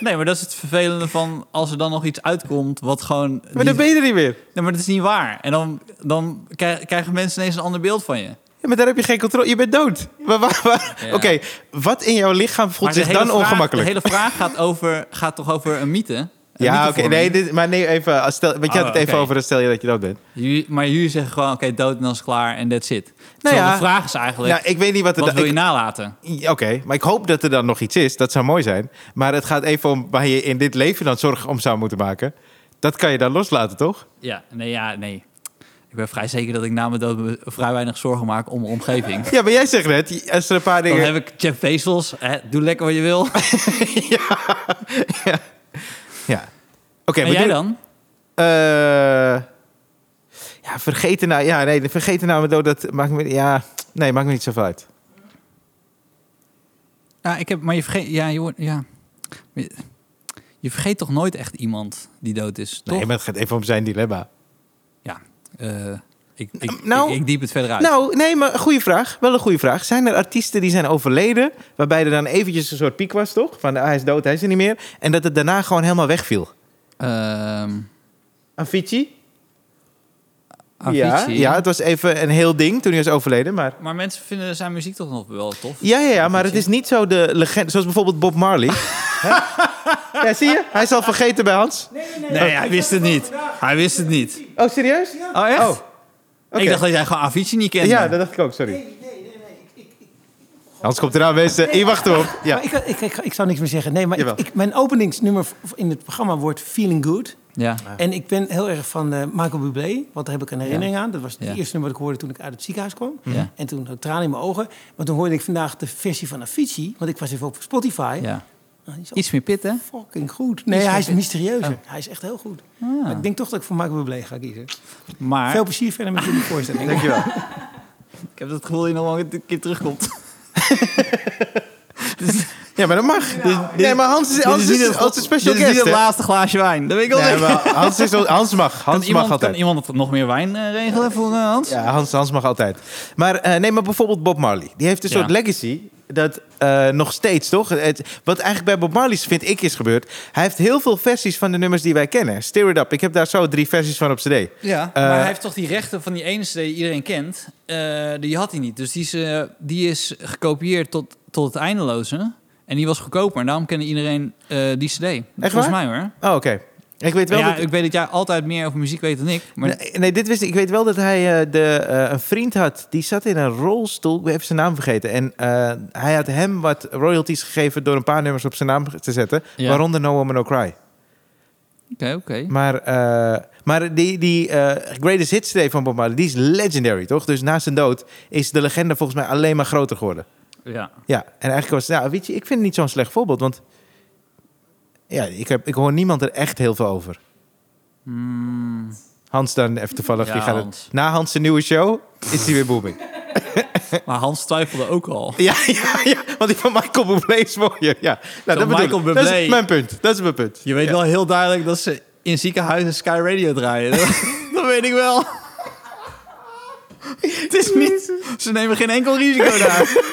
Speaker 2: Nee, maar dat is het vervelende van als er dan nog iets uitkomt wat gewoon...
Speaker 1: Maar dan ben je er niet meer.
Speaker 2: Nee, maar dat is niet waar. En dan, dan krij- krijgen mensen ineens een ander beeld van je.
Speaker 1: Ja, maar daar heb je geen controle. Je bent dood. Maar waar- waar-
Speaker 2: Ja.
Speaker 1: Oké, wat in jouw lichaam voelt
Speaker 2: Maar de
Speaker 1: zich
Speaker 2: hele
Speaker 1: dan
Speaker 2: vraag-
Speaker 1: ongemakkelijk?
Speaker 2: De hele vraag gaat, over, gaat toch over een mythe? Een
Speaker 1: Ja, oké.
Speaker 2: mythevorming.
Speaker 1: nee, dit- maar nee, even. als Stel, want je
Speaker 2: Oh,
Speaker 1: had het even
Speaker 2: oké.
Speaker 1: over, dan stel je dat je dood bent.
Speaker 2: Jullie- maar jullie zeggen gewoon, oké, dood en dan is klaar en that's it. Nou
Speaker 1: ja.
Speaker 2: de vraag is eigenlijk,
Speaker 1: Nou, ik weet niet wat het...
Speaker 2: wat wil je
Speaker 1: ik-
Speaker 2: nalaten?
Speaker 1: Oké, maar ik hoop dat er dan nog iets is. Dat zou mooi zijn. Maar het gaat even om waar je in dit leven dan zorg om zou moeten maken. Dat kan je dan loslaten, toch?
Speaker 2: Ja, nee, ja, nee. Ik ben vrij zeker dat ik na mijn dood me vrij weinig zorgen maak om mijn omgeving.
Speaker 1: Ja, maar jij zegt net, als er een paar
Speaker 2: Dan
Speaker 1: dingen...
Speaker 2: heb ik Jeff Bezos, hè, doe lekker wat je wil.
Speaker 1: Ja. Oké,
Speaker 2: en
Speaker 1: we
Speaker 2: jij
Speaker 1: doen-
Speaker 2: dan?
Speaker 1: Eh, ja, vergeten nou... Ja, nee, vergeten nou mijn dood, dat maakt me... Ja, nee, maakt me niet zoveel uit.
Speaker 2: Ja, ik heb, maar je vergeet, ja, je wordt, ja. Je Je vergeet toch nooit echt iemand die dood is, toch?
Speaker 1: Nee, maar het gaat even om zijn dilemma.
Speaker 2: Ja. eh, ik, ik,
Speaker 1: Nou-
Speaker 2: ik, ik diep het verder uit.
Speaker 1: Nou, nee, maar een goede vraag. Wel een goede vraag. Zijn er artiesten die zijn overleden, waarbij er dan eventjes een soort piek was, toch? Van ah, hij is dood, hij is er niet meer. En dat het daarna gewoon helemaal wegviel.
Speaker 2: Ehm,
Speaker 1: Avicii? Ja,
Speaker 2: Avicii.
Speaker 1: ja, het was even een heel ding toen hij was overleden, maar...
Speaker 2: Maar mensen vinden zijn muziek toch nog wel tof.
Speaker 1: Ja, ja, ja, maar het is niet zo de legende, zoals bijvoorbeeld Bob Marley. Hè? ja, zie je? Hij is al vergeten bij Hans.
Speaker 4: Nee, nee, nee.
Speaker 2: Nee, hij wist het niet. Hij wist het niet.
Speaker 1: Oh, serieus?
Speaker 2: Oh, echt?
Speaker 1: Oh, oké.
Speaker 2: Ik dacht dat jij gewoon Avicii niet kende.
Speaker 1: Ja, dat dacht ik ook, sorry.
Speaker 4: Nee, nee, nee. nee. Ik, ik, ik,
Speaker 1: Hans komt eraan, mensen. Ik wacht erop. Ja.
Speaker 4: Maar ik, ik, ik, ik zou niks meer zeggen. Nee, maar ik,
Speaker 1: Jawel.
Speaker 4: ik- mijn openingsnummer v- in het programma wordt Feeling Good.
Speaker 2: Ja.
Speaker 4: En ik ben heel erg van eh, Michael Bublé, want daar heb ik een herinnering aan. Dat was het
Speaker 2: Ja.
Speaker 4: eerste nummer dat ik hoorde toen ik uit het ziekenhuis kwam.
Speaker 2: Ja.
Speaker 4: En toen had ik tranen in mijn ogen. Maar toen hoorde ik vandaag de versie van Avicii, want ik was even op Spotify.
Speaker 2: ja.
Speaker 4: Nou, die is
Speaker 2: Iets meer pit, hè?
Speaker 4: fucking goed. Nee,
Speaker 2: Iets
Speaker 4: hij is
Speaker 2: meer-
Speaker 4: mysterieuzer. Hij is echt heel goed. Maar ik denk toch dat ik voor Michael Bublé ga kiezen.
Speaker 2: Maar
Speaker 4: Veel plezier verder met jullie voorstelling.
Speaker 1: Dankjewel.
Speaker 2: ik heb het gevoel dat je nog wel een keer terugkomt.
Speaker 1: Ja, maar dat mag. nee, maar Hans is, Hans is, Hans is special
Speaker 2: Dit is
Speaker 1: guest,
Speaker 2: niet het
Speaker 1: hè?
Speaker 2: laatste glaasje wijn. Dat weet ik al
Speaker 1: Nee,
Speaker 2: zeker.
Speaker 1: maar Hans, is, Hans mag.
Speaker 2: Kan
Speaker 1: Hans
Speaker 2: iemand,
Speaker 1: mag altijd.
Speaker 2: Kan iemand nog meer wijn eh, regelen voor eh, Hans?
Speaker 1: Ja, Hans, Hans mag altijd. Maar, eh, nee, maar bijvoorbeeld Bob Marley. Die heeft een
Speaker 2: Ja.
Speaker 1: soort legacy. Dat eh, nog steeds, toch? Het, wat eigenlijk bij Bob Marley, vind ik, is gebeurd. Hij heeft heel veel versies van de nummers die wij kennen. Steer It Up. Ik heb daar zo drie versies van op cd.
Speaker 2: Ja, maar
Speaker 1: Eh,
Speaker 2: hij heeft toch die rechten van die ene CD die iedereen kent. eh, die had hij niet. Dus die is, eh, die is gekopieerd tot, tot het eindeloze. En die was goedkoper. En daarom kende iedereen eh, die CD. Volgens
Speaker 1: waar?
Speaker 2: mij hoor.
Speaker 1: Oh, oké. Ik weet wel
Speaker 2: ja,
Speaker 1: dat...
Speaker 2: ik weet dat jij altijd meer over muziek weet dan ik. Maar
Speaker 1: Nee, nee, dit wist ik. Ik weet wel dat hij eh, de, eh, een vriend had. Die zat in een rolstoel. Ik ben even zijn naam vergeten. En eh, hij had hem wat royalties gegeven door een paar nummers op zijn naam te zetten.
Speaker 2: Ja.
Speaker 1: Waaronder No Woman No Cry.
Speaker 2: Oké, oké.
Speaker 1: Maar, eh, maar die, die eh, Greatest Hits CD van Bob Marley, die is legendary, toch? Dus na zijn dood is de legende volgens mij alleen maar groter geworden.
Speaker 2: Ja.
Speaker 1: Ja, en eigenlijk was nou, weet je, ik vind het niet zo'n slecht voorbeeld, want ja, ik, heb, ik hoor niemand er echt heel veel over.
Speaker 2: Mm,
Speaker 1: Hans dan even toevallig.
Speaker 2: Ja,
Speaker 1: die gaat het-
Speaker 2: Hans.
Speaker 1: na Hmm. Hans' nieuwe show is hij weer booming.
Speaker 2: maar Hans twijfelde ook al.
Speaker 1: ja, ja, ja, want die van Michael Bublé is mooier. Ja, nou, dat, bedoel ik.
Speaker 2: Michael
Speaker 1: dat
Speaker 2: Bublé.
Speaker 1: is mijn punt. Dat is mijn punt.
Speaker 2: Je weet wel heel duidelijk dat ze in ziekenhuizen Sky Radio draaien. dat weet ik wel. Het is niet... Ze nemen geen enkel risico daar.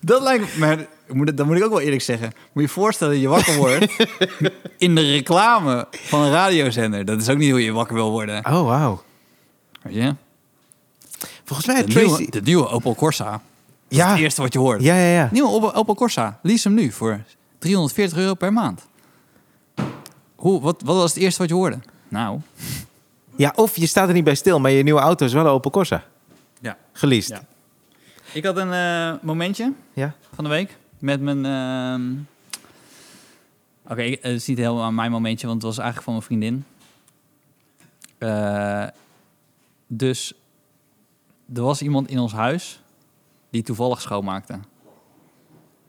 Speaker 2: dat lijkt me... Maar ik moet het- dat moet ik ook wel eerlijk zeggen. Moet je je voorstellen dat je wakker wordt... in de reclame van een radiozender. Dat is ook niet hoe je wakker wil worden.
Speaker 1: Oh, wauw.
Speaker 2: Weet je?
Speaker 1: Volgens mij
Speaker 2: De
Speaker 1: had Tracy...
Speaker 2: nieuwe, de nieuwe Opel Corsa. Dat is
Speaker 1: Ja.
Speaker 2: het eerste wat je hoort.
Speaker 1: Ja, ja, ja.
Speaker 2: Nieuwe Opel, Opel Corsa. Lease hem nu voor 340 euro per maand. Hoe, wat, wat was het eerste wat je hoorde? Nou.
Speaker 1: Ja, of je staat er niet bij stil, maar je nieuwe auto is wel een Opel Corsa.
Speaker 2: Ja.
Speaker 1: Geleased.
Speaker 2: Ja. Ik had een eh, momentje
Speaker 1: Ja?
Speaker 2: van de week met mijn... ehm, Oké, ik- het is niet helemaal mijn momentje, want het was eigenlijk van mijn vriendin. Eh, dus er was iemand in ons huis die toevallig schoonmaakte.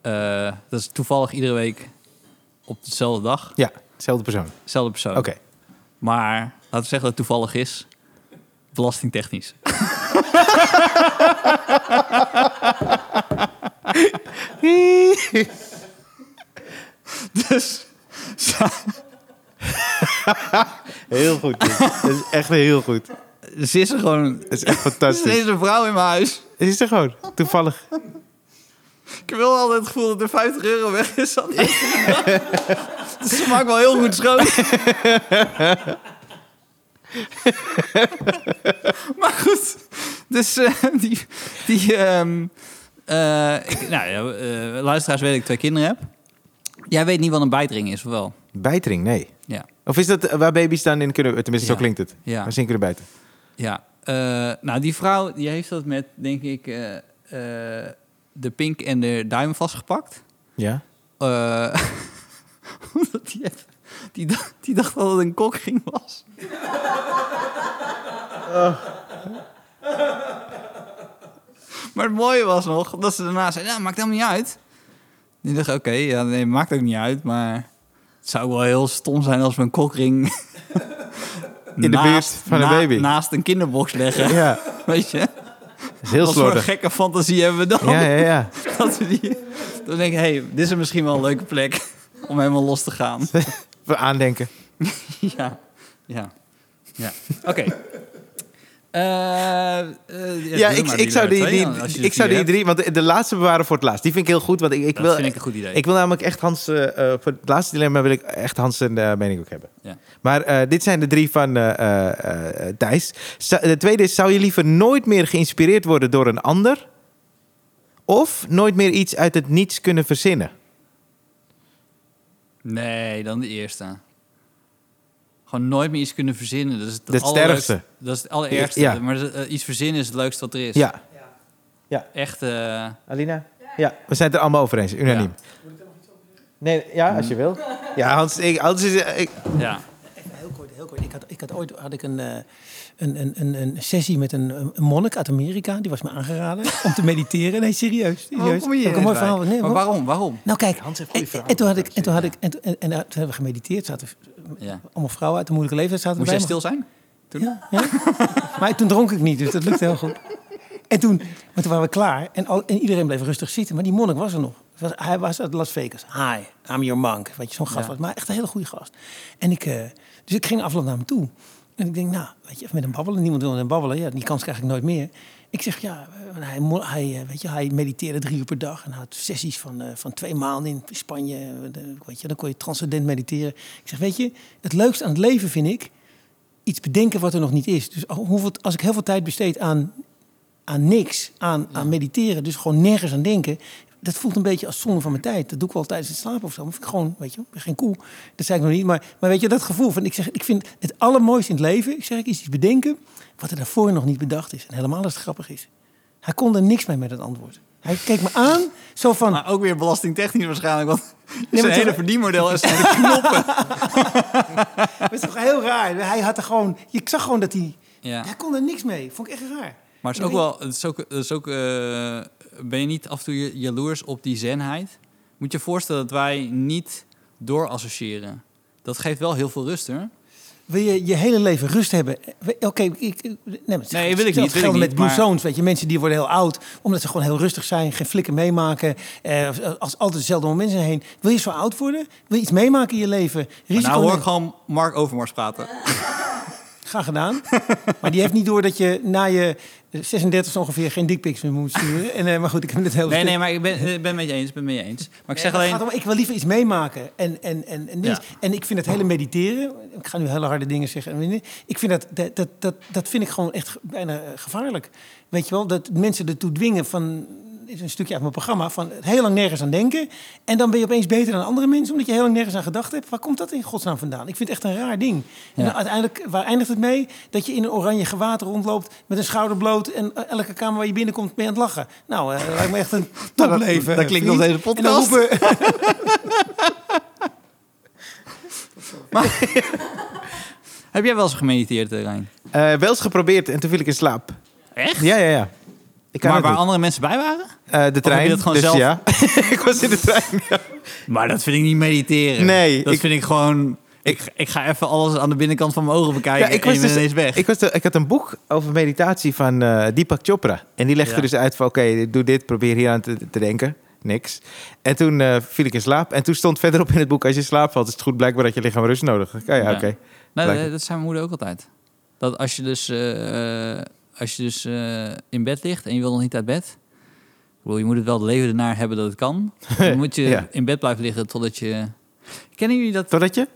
Speaker 2: Eh, dat is toevallig iedere week op dezelfde dag.
Speaker 1: Ja, dezelfde persoon. Oké.
Speaker 2: Zelfde persoon. Maar laten we zeggen dat het toevallig is. Belastingtechnisch. dus
Speaker 1: Heel goed. Dit. Dat is echt heel goed. Dat
Speaker 2: ze is er gewoon...
Speaker 1: is echt
Speaker 2: Ze
Speaker 1: fantastisch.
Speaker 2: is een vrouw in mijn huis.
Speaker 1: Het is er gewoon. Toevallig.
Speaker 2: Ik heb wel altijd het gevoel dat er 50 euro weg is. aan- dus ze maakt wel heel goed schoon. maar goed, dus eh, die... die ehm, eh, ik, nou ja, eh, luisteraars weten dat ik twee kinderen heb. Jij weet niet wat een bijtring is, of wel?
Speaker 1: Bijtering, nee.
Speaker 2: Ja.
Speaker 1: Of is dat eh, waar baby's dan in kunnen... Tenminste,
Speaker 2: Ja.
Speaker 1: zo klinkt het.
Speaker 2: Ja.
Speaker 1: Waar ze in kunnen bijten.
Speaker 2: Ja, eh, nou die vrouw die heeft dat met, denk ik, eh, eh, de pink en de duim vastgepakt.
Speaker 1: Ja?
Speaker 2: Eh, omdat die, even- die, dacht, die dacht dat het een kokring was. Maar het mooie was nog dat ze daarna zei: Nou, maakt helemaal niet uit. Die dacht: Oké, ja, nee, maakt ook niet uit. Maar het zou wel heel stom zijn als we een kokring.
Speaker 1: In de buurt van een baby.
Speaker 2: Naast een kinderbox leggen.
Speaker 1: Ja.
Speaker 2: Weet je?
Speaker 1: Dat is heel
Speaker 2: Wat voor
Speaker 1: slordig.
Speaker 2: gekke fantasie hebben we dan?
Speaker 1: Ja, ja, ja.
Speaker 2: Dat we die, dan denk ik, hé, hey, dit is misschien wel een leuke plek. om helemaal los te gaan.
Speaker 1: We aandenken.
Speaker 2: ja, ja, ja. Oké. Eh, eh,
Speaker 1: Ja,
Speaker 2: doe
Speaker 1: ik,
Speaker 2: maar
Speaker 1: ik zou
Speaker 2: er
Speaker 1: die,
Speaker 2: twee
Speaker 1: die,
Speaker 2: dan, als je er
Speaker 1: ik zou
Speaker 2: vier
Speaker 1: die
Speaker 2: hebt.
Speaker 1: drie, want de, de laatste bewaren voor het laatst. Die vind ik heel goed, want ik, ik
Speaker 2: Dat
Speaker 1: wil,
Speaker 2: vind ik een goed idee.
Speaker 1: ik wil namelijk echt Hans, eh, eh, voor het laatste dilemma wil ik echt Hans zijn eh, mening ook hebben.
Speaker 2: Ja.
Speaker 1: Maar eh, dit zijn de drie van eh, eh, eh, eh, Thijs. Zou- de tweede is, zou je liever nooit meer geïnspireerd worden door een ander? Of nooit meer iets uit het niets kunnen verzinnen?
Speaker 2: Nee, dan de eerste. Gewoon nooit meer iets kunnen verzinnen. Dat is het,
Speaker 1: Dat is het
Speaker 2: allerleukste.
Speaker 1: ergste.
Speaker 2: Dat is het allerergste.
Speaker 1: Ja.
Speaker 2: Maar eh, iets verzinnen is het leukste wat er is.
Speaker 1: Ja,
Speaker 2: Echt, eh,
Speaker 1: Alina? Ja, we zijn het er allemaal over eens, unaniem. Nee, ja, als je wil. Ja, Hans, ik, Hans is... eh, Ik,
Speaker 2: ja.
Speaker 5: Even heel kort, heel kort. Ik had, ik had ooit had ik een, eh, een, een, een, een sessie met een, een monnik uit Amerika. Die was me aangeraden om te mediteren. Nee, serieus. serieus. Ook een mooi verhaal. Nee,
Speaker 2: maar
Speaker 5: hoor.
Speaker 2: waarom? Waarom?
Speaker 5: Nou kijk,
Speaker 1: Hans heeft goede
Speaker 5: en,
Speaker 1: verhalen
Speaker 5: en toen had ik, en toen had ik, en, toen- en, en, eh, toen hebben we gemediteerd. Zaten
Speaker 2: Ja.
Speaker 5: allemaal vrouwen uit de moeilijke leeftijd zaten
Speaker 2: Moest jij
Speaker 5: erbij,
Speaker 2: stil zijn?
Speaker 5: maar- Ja, ja. maar toen dronk ik niet, dus dat lukte heel goed. En toen, maar toen waren we klaar en, al, en iedereen bleef rustig zitten. Maar die monnik was er nog. Het was- hij was uit Las Vegas. Hi, I'm your monk. Weet je, zo'n gast
Speaker 2: Ja.
Speaker 5: was. Maar echt een hele goede gast. En ik, eh, dus ik ging afloop naar hem toe. En ik denk, nou, weet je, even met hem babbelen. Niemand wil met hem babbelen. Ja, die kans krijg ik nooit meer. Ik zeg, ja, eh, hij, mo- hij, eh, weet je, hij mediteerde drie uur per dag. En had sessies van, eh, van twee maanden in Spanje. Eh, de- Weet je, dan kon je transcendent mediteren. Ik zeg, weet je, het leukste aan het leven vind ik... iets bedenken wat er nog niet is. Dus al- hoeveel, als ik heel veel tijd besteed aan aan niks, aan, aan mediteren, dus gewoon nergens aan denken. Dat voelt een beetje als zonde van mijn tijd. Dat doe ik wel tijdens het slapen of zo. Maar vind ik gewoon, weet je, wel, geen koe. Dat zei ik nog niet. Maar, maar weet je, dat gevoel van, ik zeg, ik vind het allermooiste in het leven, ik zeg, ik is iets bedenken wat er daarvoor nog niet bedacht is. En helemaal als het grappig is. Hij kon er niks mee met het antwoord. Hij keek me aan, zo van,
Speaker 2: Maar Nou, ook weer belastingtechnisch waarschijnlijk, want
Speaker 5: maar
Speaker 2: zijn
Speaker 5: toch-
Speaker 2: hele verdienmodel is aan de knoppen.
Speaker 5: dat is toch heel raar. Hij had er gewoon, ik zag gewoon dat hij,
Speaker 2: Ja.
Speaker 5: hij kon er niks mee. Vond ik echt raar.
Speaker 2: Maar het is ook wel, het is ook, het is ook eh, ben je niet af en toe je- jaloers op die zenheid? Moet je je voorstellen dat wij niet doorassociëren. Dat geeft wel heel veel rust, hoor.
Speaker 5: Wil je je hele leven rust hebben? We- Oké, ik- ik... Nee, maar
Speaker 2: Nee,
Speaker 5: het-
Speaker 2: wil ik niet,
Speaker 5: hetzelfde
Speaker 2: wil ik
Speaker 5: geldt
Speaker 2: niet,
Speaker 5: met Blue
Speaker 2: maar-
Speaker 5: Zones, weet je. Mensen die worden heel oud, omdat ze gewoon heel rustig zijn. Geen flikken meemaken. eh, als altijd dezelfde mensen heen. Wil je zo oud worden? Wil je iets meemaken in je leven?
Speaker 2: Maar
Speaker 5: Risico
Speaker 2: nou hoor ik
Speaker 5: nemen?
Speaker 2: gewoon Mark Overmars praten.
Speaker 5: Graag gedaan. maar die heeft niet door dat je na je 36 ongeveer geen dickpics meer moet sturen. En, eh, maar goed, ik heb het heel
Speaker 2: Nee, nee, maar ik ben, eh, ik ben met je eens, ik ben met je eens. Maar ik zeg
Speaker 5: Nee, het
Speaker 2: alleen...
Speaker 5: gaat om, ik wil liever iets meemaken. En, en, en, en, niks.
Speaker 2: Ja.
Speaker 5: en ik vind het hele mediteren. Ik ga nu hele harde dingen zeggen. Ik vind dat, dat, dat, dat, dat vind ik gewoon echt ge- bijna eh, gevaarlijk. Weet je wel, dat mensen ertoe dwingen van. Dit is een stukje uit mijn programma. Van heel lang nergens aan denken. En dan ben je opeens beter dan andere mensen. Omdat je heel lang nergens aan gedacht hebt. Waar komt dat in godsnaam vandaan? Ik vind het echt een raar ding. En
Speaker 2: Ja.
Speaker 5: dan uiteindelijk, waar eindigt het mee? Dat je in een oranje gewaad rondloopt. Met een schouder bloot. En eh, elke kamer waar je binnenkomt ben je aan het lachen. Nou, eh, lijkt me echt een
Speaker 2: Nou,
Speaker 5: topleven.
Speaker 1: dat klinkt
Speaker 5: vriend.
Speaker 1: nog deze
Speaker 5: En dan
Speaker 1: podcast.
Speaker 5: roepen-
Speaker 2: Heb jij wel eens gemediteerd, eh, Rijn?
Speaker 1: eh, wel eens geprobeerd en toen viel ik in slaap.
Speaker 2: Echt?
Speaker 1: Ja, ja, ja. Ik kan
Speaker 2: maar
Speaker 1: het
Speaker 2: waar
Speaker 1: niet.
Speaker 2: andere mensen bij waren?
Speaker 1: Eh, de trein.
Speaker 2: heb je dat gewoon
Speaker 1: dus
Speaker 2: zelf?
Speaker 1: ja. ik was in de trein. ja.
Speaker 2: Maar dat vind ik niet mediteren.
Speaker 1: Nee,
Speaker 2: Dat
Speaker 1: ik-
Speaker 2: vind ik gewoon... Ik, ik ga even alles aan de binnenkant van mijn ogen
Speaker 1: Ja,
Speaker 2: bekijken
Speaker 1: ik
Speaker 2: en
Speaker 1: was
Speaker 2: je bent
Speaker 1: dus-
Speaker 2: ineens weg.
Speaker 1: Ik, was de- ik had een boek over meditatie van eh, Deepak Chopra. En die legde
Speaker 2: Ja.
Speaker 1: dus uit van, oké, doe dit, probeer hier aan te, te denken. Niks. En toen eh, viel ik in slaap. En toen stond verderop in het boek, als je in slaap valt, is het goed blijkbaar dat je lichaam rust nodig heeft. Ah, ja,
Speaker 2: Ja.
Speaker 1: oké.
Speaker 2: Nou,
Speaker 1: Blijkbaar.
Speaker 2: dat, dat zei mijn moeder ook altijd. Dat als je dus, eh, eh, als je dus eh, in bed ligt en je wil nog niet uit bed. ik bedoel, Je moet het wel het leven ernaar hebben dat het kan. Dan moet je
Speaker 1: Ja.
Speaker 2: in bed blijven liggen totdat je... Kennen jullie dat?
Speaker 1: Totdat je?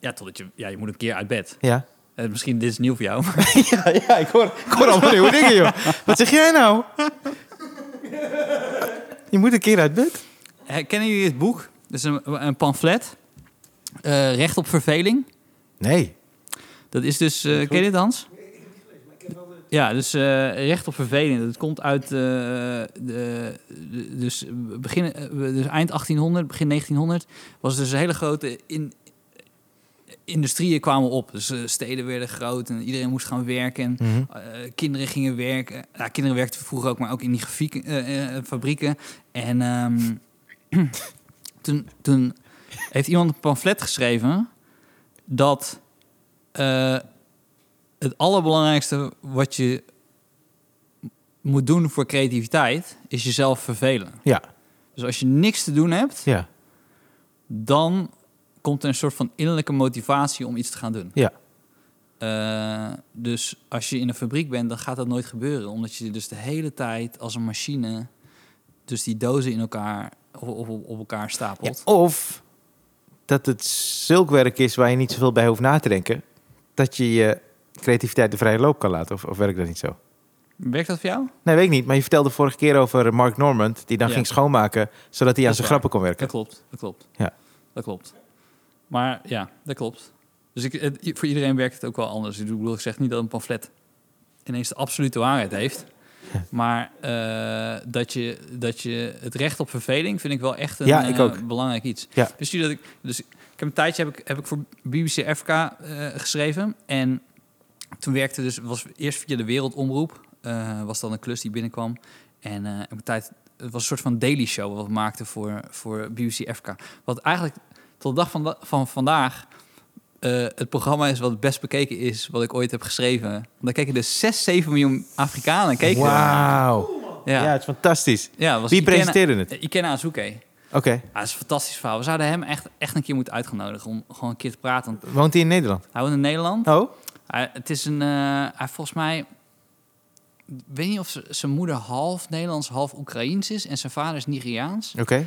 Speaker 2: Ja, totdat je... Ja, je moet een keer uit bed.
Speaker 1: Ja.
Speaker 2: Eh, misschien dit is nieuw voor jou. maar-
Speaker 1: ja, ja, ik hoor, ik hoor allemaal nieuwe dingen, joh. Wat zeg jij nou? je moet een keer uit bed.
Speaker 2: Eh, Kennen jullie het boek? Dat is een, een pamflet. Eh, recht op verveling.
Speaker 1: Nee.
Speaker 2: Dat is dus, eh, ken je dit Hans? Ja, dus eh, recht op verveling. Dat komt uit eh, de, de- dus, begin, eh, dus eind 1800, begin 1900 was het dus een hele grote in, industrieën kwamen op. Dus eh, steden werden groot en iedereen moest gaan werken. En, eh, kinderen gingen werken. Ja, kinderen werkten vroeger ook, maar ook in die grafiek, eh, eh, fabrieken. En ehm, toen, toen heeft iemand een pamflet geschreven dat eh, het allerbelangrijkste wat je moet doen voor creativiteit is jezelf vervelen.
Speaker 1: Ja,
Speaker 2: Dus als je niks te doen hebt,
Speaker 1: ja.
Speaker 2: dan komt er een soort van innerlijke motivatie om iets te gaan doen.
Speaker 1: Ja.
Speaker 2: Eh, dus als je in een fabriek bent, dan gaat dat nooit gebeuren. Omdat je dus de hele tijd als een machine... dus die dozen in elkaar, op, op, op elkaar
Speaker 1: Ja,
Speaker 2: stapelt.
Speaker 1: of dat het zulk werk is waar je niet zoveel bij hoeft na te denken. Dat je je creativiteit de vrije loop kan laten. Of, of werkt dat niet zo?
Speaker 2: Werkt dat voor jou?
Speaker 1: Nee, weet ik niet. Maar je vertelde vorige keer over Mark Normand. Die dan
Speaker 2: Ja.
Speaker 1: ging schoonmaken. Zodat hij aan zijn
Speaker 2: is waar.
Speaker 1: grappen kon werken.
Speaker 2: Dat klopt, dat klopt.
Speaker 1: Ja.
Speaker 2: Dat klopt. Maar ja, dat klopt. Dus ik, het- voor iedereen werkt het ook wel anders. Ik bedoel, ik zeg niet dat een pamflet ineens de absolute waarheid heeft. Maar eh, dat, je, dat je het recht op verveling vind ik wel echt een
Speaker 1: Ja, ik
Speaker 2: eh,
Speaker 1: ook.
Speaker 2: belangrijk iets.
Speaker 1: Ja.
Speaker 2: Dus, zie dat ik, dus ik heb een tijdje heb ik, heb ik voor BBC Afrika eh, geschreven. En toen werkte dus, was eerst via de Wereldomroep. eh, was dan een klus die binnenkwam. En eh, heb ik een tijd, het was een soort van daily show wat we maakten voor, voor BBC Afrika. Wat eigenlijk tot de dag van, da- van vandaag eh, het programma is wat het best bekeken is wat ik ooit heb geschreven. Want daar keken dus 6, 7 miljoen Afrikanen. Keken ernaar.
Speaker 1: Wauw. Ja.
Speaker 2: Ja. ja.
Speaker 1: het is fantastisch.
Speaker 2: het was
Speaker 1: Wie
Speaker 2: Ikena-
Speaker 1: presenteerde het?
Speaker 2: eh, Ikena Azuke.
Speaker 1: Oké.
Speaker 2: Ja, dat is een fantastisch verhaal. We zouden hem echt, echt een keer moeten uitgenodigen om gewoon een keer te praten. Want
Speaker 1: Woont hij in Nederland?
Speaker 2: Hij woont in Nederland.
Speaker 1: Oh?
Speaker 2: Hij, het is een, eh, hij volgens mij, ik weet niet of z- zijn moeder half Nederlands, half Oekraïens is en zijn vader is Nigeriaans.
Speaker 1: Oké.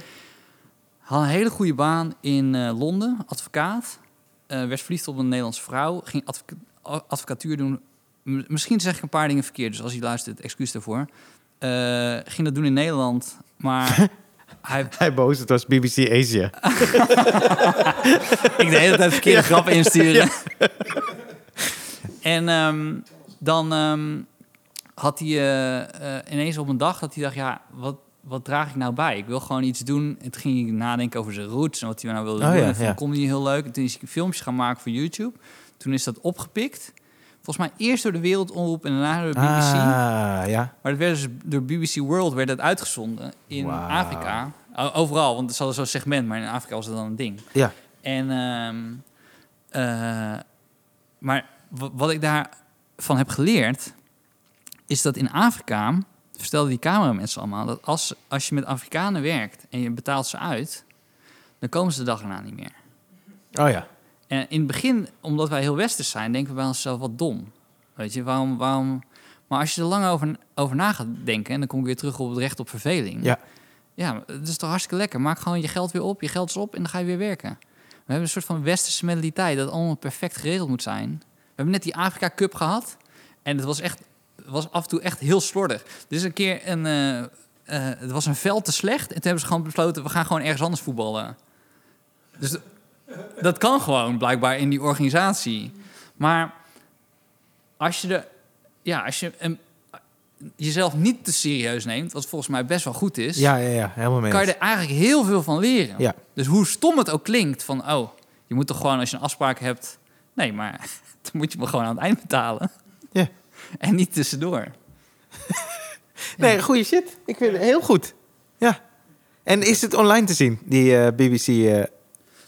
Speaker 2: Had een hele goede baan in eh, Londen, advocaat. Eh, werd verliefd op een Nederlandse vrouw. Ging advoca- a- advocatuur doen. M- misschien zeg ik een paar dingen verkeerd, dus als hij luistert, excuus daarvoor. Eh, ging dat doen in Nederland, maar hij,
Speaker 1: Hij boos, het was BBC Asia.
Speaker 2: ik de hele tijd verkeerde grappen insturen. En ehm, dan ehm, had hij eh, eh, ineens op een dag dat hij dacht, ja, wat, wat draag ik nou bij? Ik wil gewoon iets doen. En toen ging hij nadenken over zijn roots en wat hij nou wilde
Speaker 1: Oh
Speaker 2: doen.
Speaker 1: ja,
Speaker 2: en dat vond
Speaker 1: ja.
Speaker 2: ik comedy heel leuk. En toen is hij filmpjes gaan maken voor YouTube. Toen is dat opgepikt. Volgens mij eerst door de Wereldomroep en daarna door de BBC.
Speaker 1: Ah, ja.
Speaker 2: Maar dat werd dus door BBC World werd dat uitgezonden in
Speaker 1: Wauw.
Speaker 2: Afrika. O- Overal, want ze hadden zo'n segment, maar in Afrika was dat dan een ding.
Speaker 1: Ja.
Speaker 2: En, ehm, eh, maar wa- wat ik daarvan heb geleerd, is dat in Afrika, vertelden die cameramensen allemaal, dat als, als je met Afrikanen werkt en je betaalt ze uit, dan komen ze de dag erna niet meer.
Speaker 1: Oh ja.
Speaker 2: En in het begin, omdat wij heel westers zijn, denken we bij onszelf wat dom. Weet je, waarom... waarom... Maar als je er lang over, over na gaat denken... en dan kom ik weer terug op het recht op verveling...
Speaker 1: Ja.
Speaker 2: ja, maar het is toch hartstikke lekker. Maak gewoon je geld weer op, je geld is op en dan ga je weer werken. We hebben een soort van westerse mentaliteit... dat allemaal perfect geregeld moet zijn. We hebben net die Afrika Cup gehad... en het was, echt, het was af en toe echt heel slordig. Er is een keer een... eh, eh, het was een veld te slecht en toen hebben ze gewoon besloten... we gaan gewoon ergens anders voetballen. Dus dat kan gewoon blijkbaar in die organisatie. Maar als je, de, ja, als je een- jezelf niet te serieus neemt, wat volgens mij best wel goed is,
Speaker 1: Ja, ja, ja. Helemaal mee.
Speaker 2: kan je
Speaker 1: eens.
Speaker 2: er eigenlijk heel veel van leren.
Speaker 1: Ja.
Speaker 2: Dus hoe stom het ook klinkt, van oh, je moet toch gewoon als je een afspraak hebt, nee, maar dan moet je me gewoon aan het eind betalen.
Speaker 1: Ja.
Speaker 2: En niet tussendoor.
Speaker 1: Nee, goede shit. Ik vind het heel goed. Ja. En is het online te zien, die eh, BBC? eh,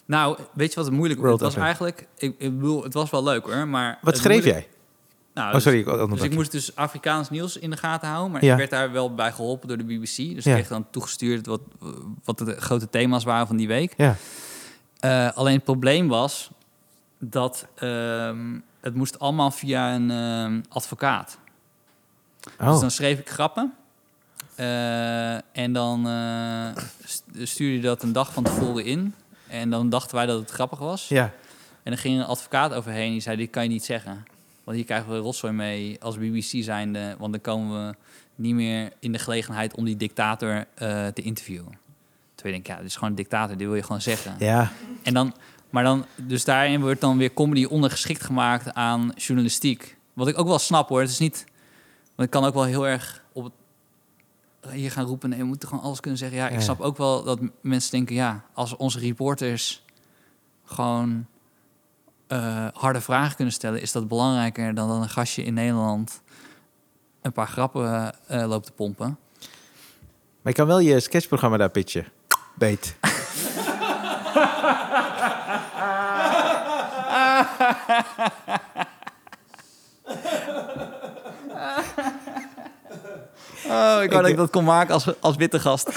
Speaker 2: Nou, weet je wat het moeilijk
Speaker 1: World
Speaker 2: Het was
Speaker 1: Epic. eigenlijk-
Speaker 2: eigenlijk, ik, bedoel, het was wel leuk hoor, maar...
Speaker 1: wat schreef jij?
Speaker 2: Nou,
Speaker 1: Oh, sorry, ik
Speaker 2: Dus
Speaker 1: onderbrak
Speaker 2: ik
Speaker 1: je.
Speaker 2: moest dus Afrikaans nieuws in de gaten houden. Maar
Speaker 1: Ja.
Speaker 2: ik werd daar wel bij geholpen door de BBC. Dus
Speaker 1: Ja.
Speaker 2: ik kreeg dan toegestuurd wat, wat de grote thema's waren van die week.
Speaker 1: Ja.
Speaker 2: Eh, alleen het probleem was dat ehm, het moest allemaal via een ehm, advocaat. Dus
Speaker 1: Oh.
Speaker 2: dan schreef ik grappen. Eh, en dan eh, st- stuurde je dat een dag van tevoren in. En dan dachten wij dat het grappig was.
Speaker 1: Ja.
Speaker 2: En dan ging een advocaat overheen die zei, dit kan je niet zeggen. Want hier krijgen we rotzooi mee als BBC zijnde. Want dan komen we niet meer in de gelegenheid om die dictator eh, te interviewen. Terwijl je denkt, ja, dit is gewoon een dictator, dit wil je gewoon zeggen.
Speaker 1: Ja.
Speaker 2: En dan, maar dan, dus daarin wordt dan weer comedy ondergeschikt gemaakt aan journalistiek. Wat ik ook wel snap hoor, het is niet... Want ik kan ook wel heel erg op het, hier gaan roepen, nee, we moeten gewoon alles kunnen zeggen. Ja, ik
Speaker 1: Ja.
Speaker 2: snap ook wel dat m- mensen denken, ja, als onze reporters gewoon eh, harde vragen kunnen stellen, is dat belangrijker dan dat een gastje in Nederland een paar grappen eh, loopt te pompen.
Speaker 1: Maar je kan wel je sketchprogramma daar pitchen. Beet.
Speaker 2: Oh, ik wou dat ik dat kon maken als, als witte gast.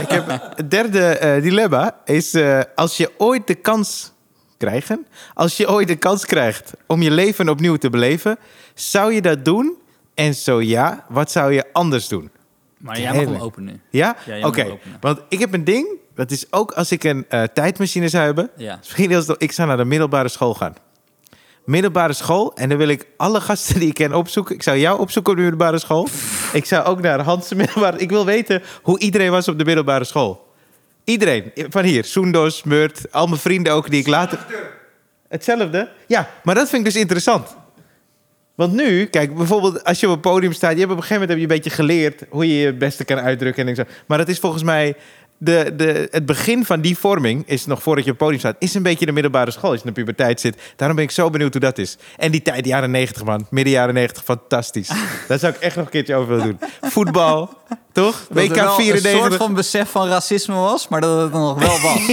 Speaker 1: Ik heb, het derde eh, dilemma is eh, als je ooit de kans krijgen, als je ooit de kans krijgt om je leven opnieuw te beleven, zou je dat doen? En zo ja, wat zou je anders doen?
Speaker 2: Maar jij mag hem
Speaker 1: Hele.
Speaker 2: open nu.
Speaker 1: Ja?
Speaker 2: Ja, jij
Speaker 1: Oké.
Speaker 2: mag hem openen.
Speaker 1: Want ik heb een ding, dat is ook als ik een eh, tijdmachine zou hebben. Dus
Speaker 2: Ja.
Speaker 1: Misschien heel snel, ik zou naar de middelbare school gaan. Middelbare school, en dan wil ik alle gasten die ik ken opzoeken. Ik zou jou opzoeken op de middelbare school. ik zou ook naar Hans' middelbare... Ik wil weten hoe iedereen was op de middelbare school. Iedereen. Van hier. Soendos, Murt, al mijn vrienden ook die ik later... Hetzelfde? Ja, maar dat vind ik dus interessant. Want nu, kijk, bijvoorbeeld als je op een podium staat... Je hebt op een gegeven moment heb je een beetje geleerd hoe je je het beste kan uitdrukken. En dingen zo. Maar dat is volgens mij... De, de, het begin van die vorming, is nog voordat je op het podium staat... is een beetje de middelbare school, als je in de puberteit zit. Daarom ben ik zo benieuwd hoe dat is. En die tijd, jaren 90 man, midden jaren 90, fantastisch. Daar zou ik echt nog een keertje over willen doen. Voetbal, toch?
Speaker 2: Dat er
Speaker 1: WK
Speaker 2: wel een soort
Speaker 1: 94.
Speaker 2: van besef van racisme was, maar dat het er nog wel was.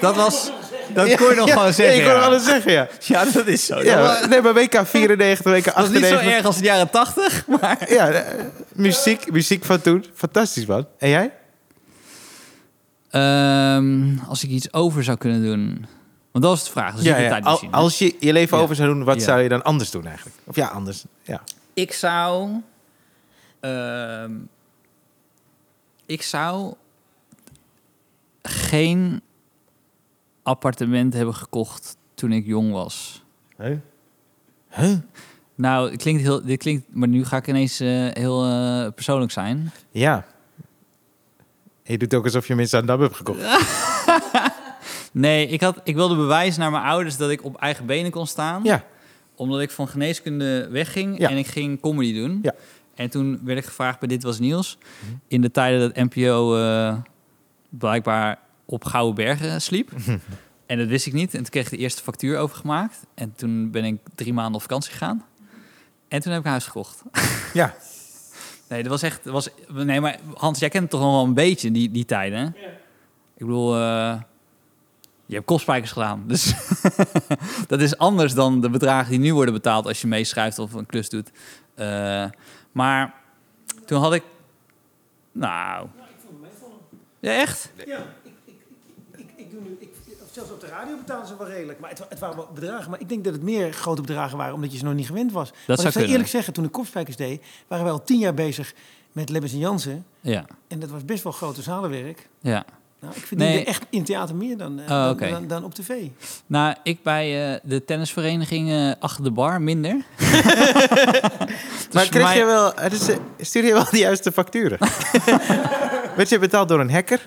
Speaker 2: dat was... Dat kon je nog
Speaker 1: Ja,
Speaker 2: gewoon zeggen.
Speaker 1: Ik kon
Speaker 2: ja.
Speaker 1: alles zeggen, ja.
Speaker 2: Ja, dat is zo.
Speaker 1: ja
Speaker 2: dat
Speaker 1: maar- nee, maar WK 94, WK
Speaker 2: was niet zo
Speaker 1: 98.
Speaker 2: erg als de jaren tachtig, maar...
Speaker 1: Ja, eh, muziek, muziek van toen. Fantastisch, man. En jij?
Speaker 2: Ehm, als ik iets over zou kunnen doen. Want dat is de vraag. Dat is niet de
Speaker 1: Al-
Speaker 2: tijdmachine.
Speaker 1: als je je leven
Speaker 2: Ja.
Speaker 1: over zou doen, wat
Speaker 2: Ja.
Speaker 1: zou je dan anders doen eigenlijk? Of ja, anders. Ja.
Speaker 2: Ik zou. ehm, ik zou. geen appartement hebben gekocht toen ik jong was. Nou, het klinkt heel. Dit klinkt, maar nu ga ik ineens eh, heel eh, persoonlijk zijn.
Speaker 1: Ja. Je doet ook alsof je mensen aan dam hebt gekocht.
Speaker 2: Nee, ik, had, ik wilde bewijzen naar mijn ouders dat ik op eigen benen kon staan.
Speaker 1: Ja.
Speaker 2: Omdat ik van geneeskunde wegging
Speaker 1: Ja.
Speaker 2: en ik ging comedy doen.
Speaker 1: Ja. Mhm.
Speaker 2: En toen werd ik gevraagd bij Dit Was Nieuws. In de tijden dat NPO eh, blijkbaar op Gouden Bergen sliep. en dat wist ik niet. En toen kreeg ik de eerste factuur overgemaakt. En toen ben ik drie maanden op vakantie gegaan. En toen heb ik een huis gekocht.
Speaker 1: Ja.
Speaker 2: Nee, dat was echt... Dat was, nee, maar Hans, jij kent het toch nog wel een beetje, die, die tijden? hè? Ik bedoel, eh, je hebt kopspijkers gedaan. Dus dat is anders dan de bedragen die nu worden betaald als je meeschrijft of een klus doet. Eh, maar toen had ik. Nou. Ja, echt?
Speaker 4: Ja, ik, ik, ik, ik doe nu. Ik, of zelfs op de radio betalen ze wel redelijk. Maar het, wa- het waren wel bedragen. Maar ik denk dat het meer grote bedragen waren, omdat je ze nog niet gewend was. Want
Speaker 2: zou
Speaker 4: ik zou
Speaker 2: kunnen.
Speaker 4: eerlijk zeggen, toen ik kopspijkers deed, waren wij al tien jaar bezig met Lebbes en Jansen.
Speaker 2: Ja.
Speaker 4: En dat was best wel grote zalenwerk.
Speaker 2: ja.
Speaker 4: Nou, ik verdiende
Speaker 2: Nee.
Speaker 4: echt in theater meer dan, eh,
Speaker 2: Oh,
Speaker 4: dan,
Speaker 2: oké.
Speaker 4: dan, dan op tv.
Speaker 2: Nou, ik bij eh, de tennisvereniging eh, achter de bar minder.
Speaker 1: maar
Speaker 2: voor
Speaker 1: kreeg
Speaker 2: mij-
Speaker 1: je wel, het is, eh, stuur je wel de juiste facturen? Werd je betaald door een hacker?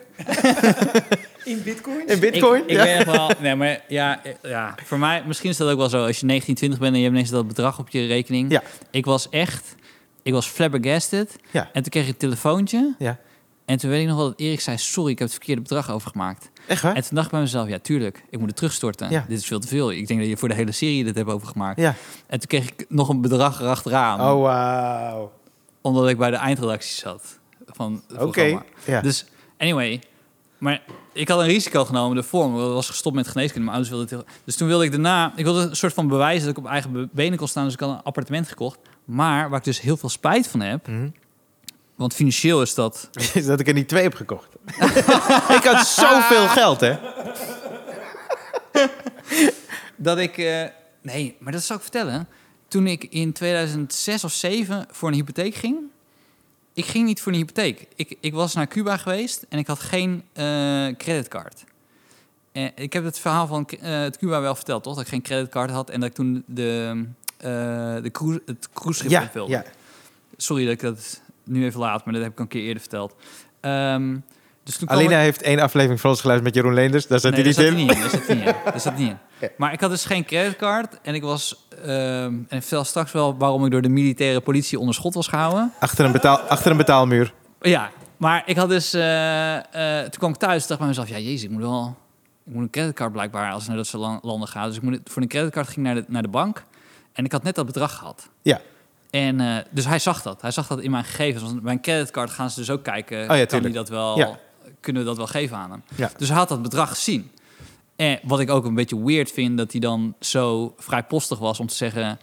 Speaker 4: In bitcoin?
Speaker 1: In bitcoin?
Speaker 2: Ik, ik ben echt wel... Nee, maar ja, ja, voor mij... Misschien is dat ook wel zo. Als je 19, 20 bent en je hebt ineens dat bedrag op je rekening.
Speaker 1: Ja.
Speaker 2: Ik was echt... Ik was flabbergasted.
Speaker 1: Ja.
Speaker 2: En toen kreeg ik een telefoontje.
Speaker 1: Ja.
Speaker 2: En toen weet ik nog wel dat Erik zei... Sorry, ik heb het verkeerde bedrag overgemaakt.
Speaker 1: Echt waar?
Speaker 2: En toen dacht ik bij mezelf... Ja, tuurlijk. Ik moet het terugstorten.
Speaker 1: Ja.
Speaker 2: Dit is veel te veel. Ik denk dat je voor de hele serie dit hebt overgemaakt.
Speaker 1: Ja.
Speaker 2: En toen kreeg ik nog een bedrag erachteraan.
Speaker 1: Oh, wauw.
Speaker 2: Omdat ik bij de eindredactie zat. Van het
Speaker 1: Oké.
Speaker 2: programma.
Speaker 1: Ja.
Speaker 2: Dus anyway, maar ik had een risico genomen daarvoor. Maar ik was gestopt met geneeskunde. Mijn ouders wilden het heel- Dus toen wilde ik daarna, ik wilde een soort van bewijzen dat ik op eigen be- benen kon staan. Dus ik had een appartement gekocht. Maar waar ik dus heel veel spijt van heb. Want financieel is dat.
Speaker 1: Is dat ik er niet twee heb gekocht. ik had zoveel geld, hè?
Speaker 2: Dat ik. eh, nee, maar dat zal ik vertellen. Toen ik in 2006 of 2007 voor een hypotheek ging. Ik ging niet voor een hypotheek. Ik, ik was naar Cuba geweest en ik had geen eh, creditcard. Eh, ik heb het verhaal van eh, het Cuba wel verteld, toch? Dat ik geen creditcard had en dat ik toen de, eh de cruise, het cruiseschip
Speaker 1: Ja,
Speaker 2: invulde.
Speaker 1: ja.
Speaker 2: Sorry dat ik dat nu even laat, maar dat heb ik al een keer eerder verteld. Ehm, dus toen kwam ik-
Speaker 1: Alina heeft één aflevering van ons geluisterd met Jeroen Leenders. Daar zat
Speaker 2: nee,
Speaker 1: hij niet
Speaker 2: daar
Speaker 1: in.
Speaker 2: zat hij niet in. Daar zat hij niet in. Daar zat hij niet in. Maar ik had dus geen creditcard en ik was... ehm, en ik vertel straks wel waarom ik door de militaire politie onder schot was gehouden.
Speaker 1: Achter een, betaal, achter een betaalmuur.
Speaker 2: Ja, maar ik had dus... eh, eh, toen kwam ik thuis en dacht bij mezelf... Ja, jezus, ik moet wel... Ik moet een creditcard blijkbaar als ik naar dat soort lan- landen ga. Dus ik moet, voor een creditcard ging ik naar de, naar de bank. En ik had net dat bedrag gehad.
Speaker 1: Ja.
Speaker 2: En, eh, dus hij zag dat. Hij zag dat in mijn gegevens. Want mijn creditcard gaan ze dus ook kijken. kan die
Speaker 1: Oh tuurlijk.
Speaker 2: dat wel,
Speaker 1: Ja.
Speaker 2: Kunnen we dat wel geven aan hem?
Speaker 1: Ja.
Speaker 2: Dus hij had dat bedrag gezien. En wat ik ook een beetje weird vind, dat hij dan zo vrijpostig was om te zeggen...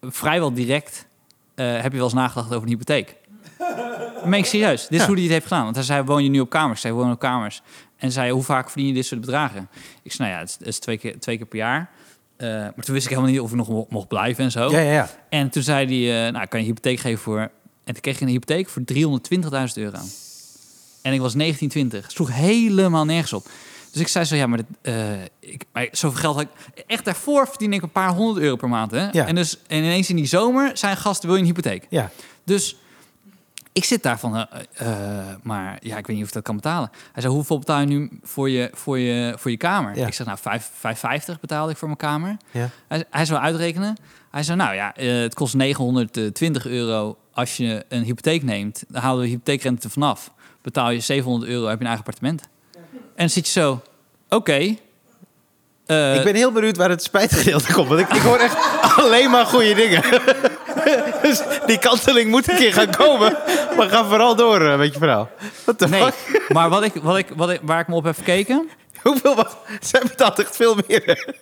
Speaker 2: vrijwel direct eh, heb je wel eens nagedacht over een hypotheek. meen ik serieus. Dit is
Speaker 1: Ja.
Speaker 2: hoe hij het heeft gedaan. Want hij zei, woon je nu op kamers? Zij wonen op kamers. En zei, hoe vaak verdien je dit soort bedragen? Ik zei, nou ja, het is, het is twee, keer, twee keer per jaar. Eh, maar toen wist ik helemaal niet of ik nog mo- mocht blijven en zo.
Speaker 1: Ja, ja, ja.
Speaker 2: En toen zei hij, eh, nou, ik kan je hypotheek geven voor... En toen kreeg ik een hypotheek voor 320.000 euro. En ik was 19, 20. Sloeg helemaal nergens op. Dus ik zei zo, ja, maar, dit, eh, ik, maar zoveel geld had ik... Echt daarvoor verdien ik een paar honderd euro per maand, hè?
Speaker 1: Ja.
Speaker 2: En, dus, en ineens in die zomer zijn gasten, wil je een hypotheek?
Speaker 1: Ja.
Speaker 2: Dus ik zit daar van, eh, eh, maar ja, ik weet niet of ik dat kan betalen. Hij zei, hoeveel betaal je nu voor je, voor je, voor je kamer?
Speaker 1: Ja.
Speaker 2: Ik zeg, nou, 5, 5,50 betaalde ik voor mijn kamer.
Speaker 1: Ja.
Speaker 2: Hij, hij zou uitrekenen. Hij zei, nou ja, eh, het kost 920 euro als je een hypotheek neemt. Dan halen we de hypotheekrente er vanaf. Betaal je 700 euro, heb je een eigen appartement. En dan zit je zo, oké. eh,
Speaker 1: ik ben heel benieuwd waar het spijtgedeelte komt. Want ik, ik hoor echt alleen maar goede dingen. dus die kanteling moet een keer gaan komen. Maar ga vooral door eh, met je verhaal. Wat de
Speaker 2: Nee,
Speaker 1: fuck?
Speaker 2: maar wat ik, wat ik, wat ik, waar ik me op heb gekeken...
Speaker 1: Hoeveel was... Zij betaalt echt veel meer.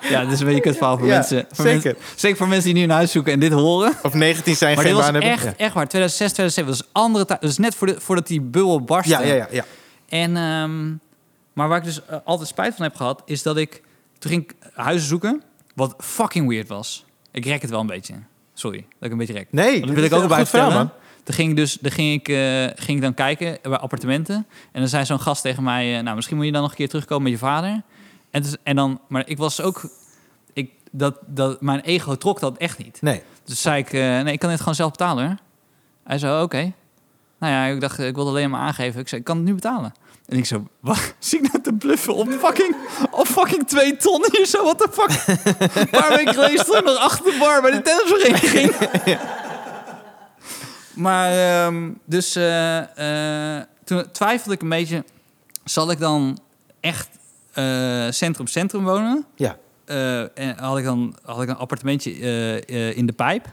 Speaker 2: Ja, dit is een beetje een kutverhaal voor
Speaker 1: Ja,
Speaker 2: mensen. Voor
Speaker 1: zeker.
Speaker 2: mensen- Zeker voor mensen die nu een huis zoeken en dit horen.
Speaker 1: Of 19 zijn
Speaker 2: Maar dit
Speaker 1: geen
Speaker 2: was
Speaker 1: baan hebben.
Speaker 2: echt, echt waar. 2006, 2007. Dat is andere tijd. Dat is net voor de, voordat die bubbel barstte.
Speaker 1: Ja, ja, ja. ja.
Speaker 2: En, ehm, maar waar ik dus eh, altijd spijt van heb gehad, is dat ik... Toen ging ik huizen zoeken, wat fucking weird was. Ik rek het wel een beetje. Sorry, dat ik een beetje rek.
Speaker 1: Nee, dit
Speaker 2: Want dat wil
Speaker 1: is
Speaker 2: ik ook
Speaker 1: een
Speaker 2: erbij
Speaker 1: goed
Speaker 2: vertellen.
Speaker 1: verhaal,
Speaker 2: man. Toen ging ik dus dan ging ik, eh, ging ik dan kijken bij appartementen. En dan zei zo'n gast tegen mij... eh, nou, misschien moet je dan nog een keer terugkomen met je vader. En, dus, en dan... Maar ik was ook... Ik, dat, dat, mijn ego trok dat echt niet.
Speaker 1: Nee.
Speaker 2: Dus zei ik, eh, nee, ik kan dit gewoon zelf betalen hoor. Hij zei, oh, oké. Nou ja, ik dacht, eh, ik wilde alleen maar aangeven. Ik zei, ik kan het nu betalen. En ik zo, wacht, zie ik nou te bluffen op fucking, op fucking twee ton hier zo? What the fuck? Een paar weken geleden stond ik nog achter de bar bij de tennisvereniging. Maar, ehm, dus eh, eh, toen twijfelde ik een beetje, zal ik dan echt eh, centrum-centrum wonen?
Speaker 1: Ja.
Speaker 2: Eh, en had ik dan had ik een appartementje eh, eh, in de pijp,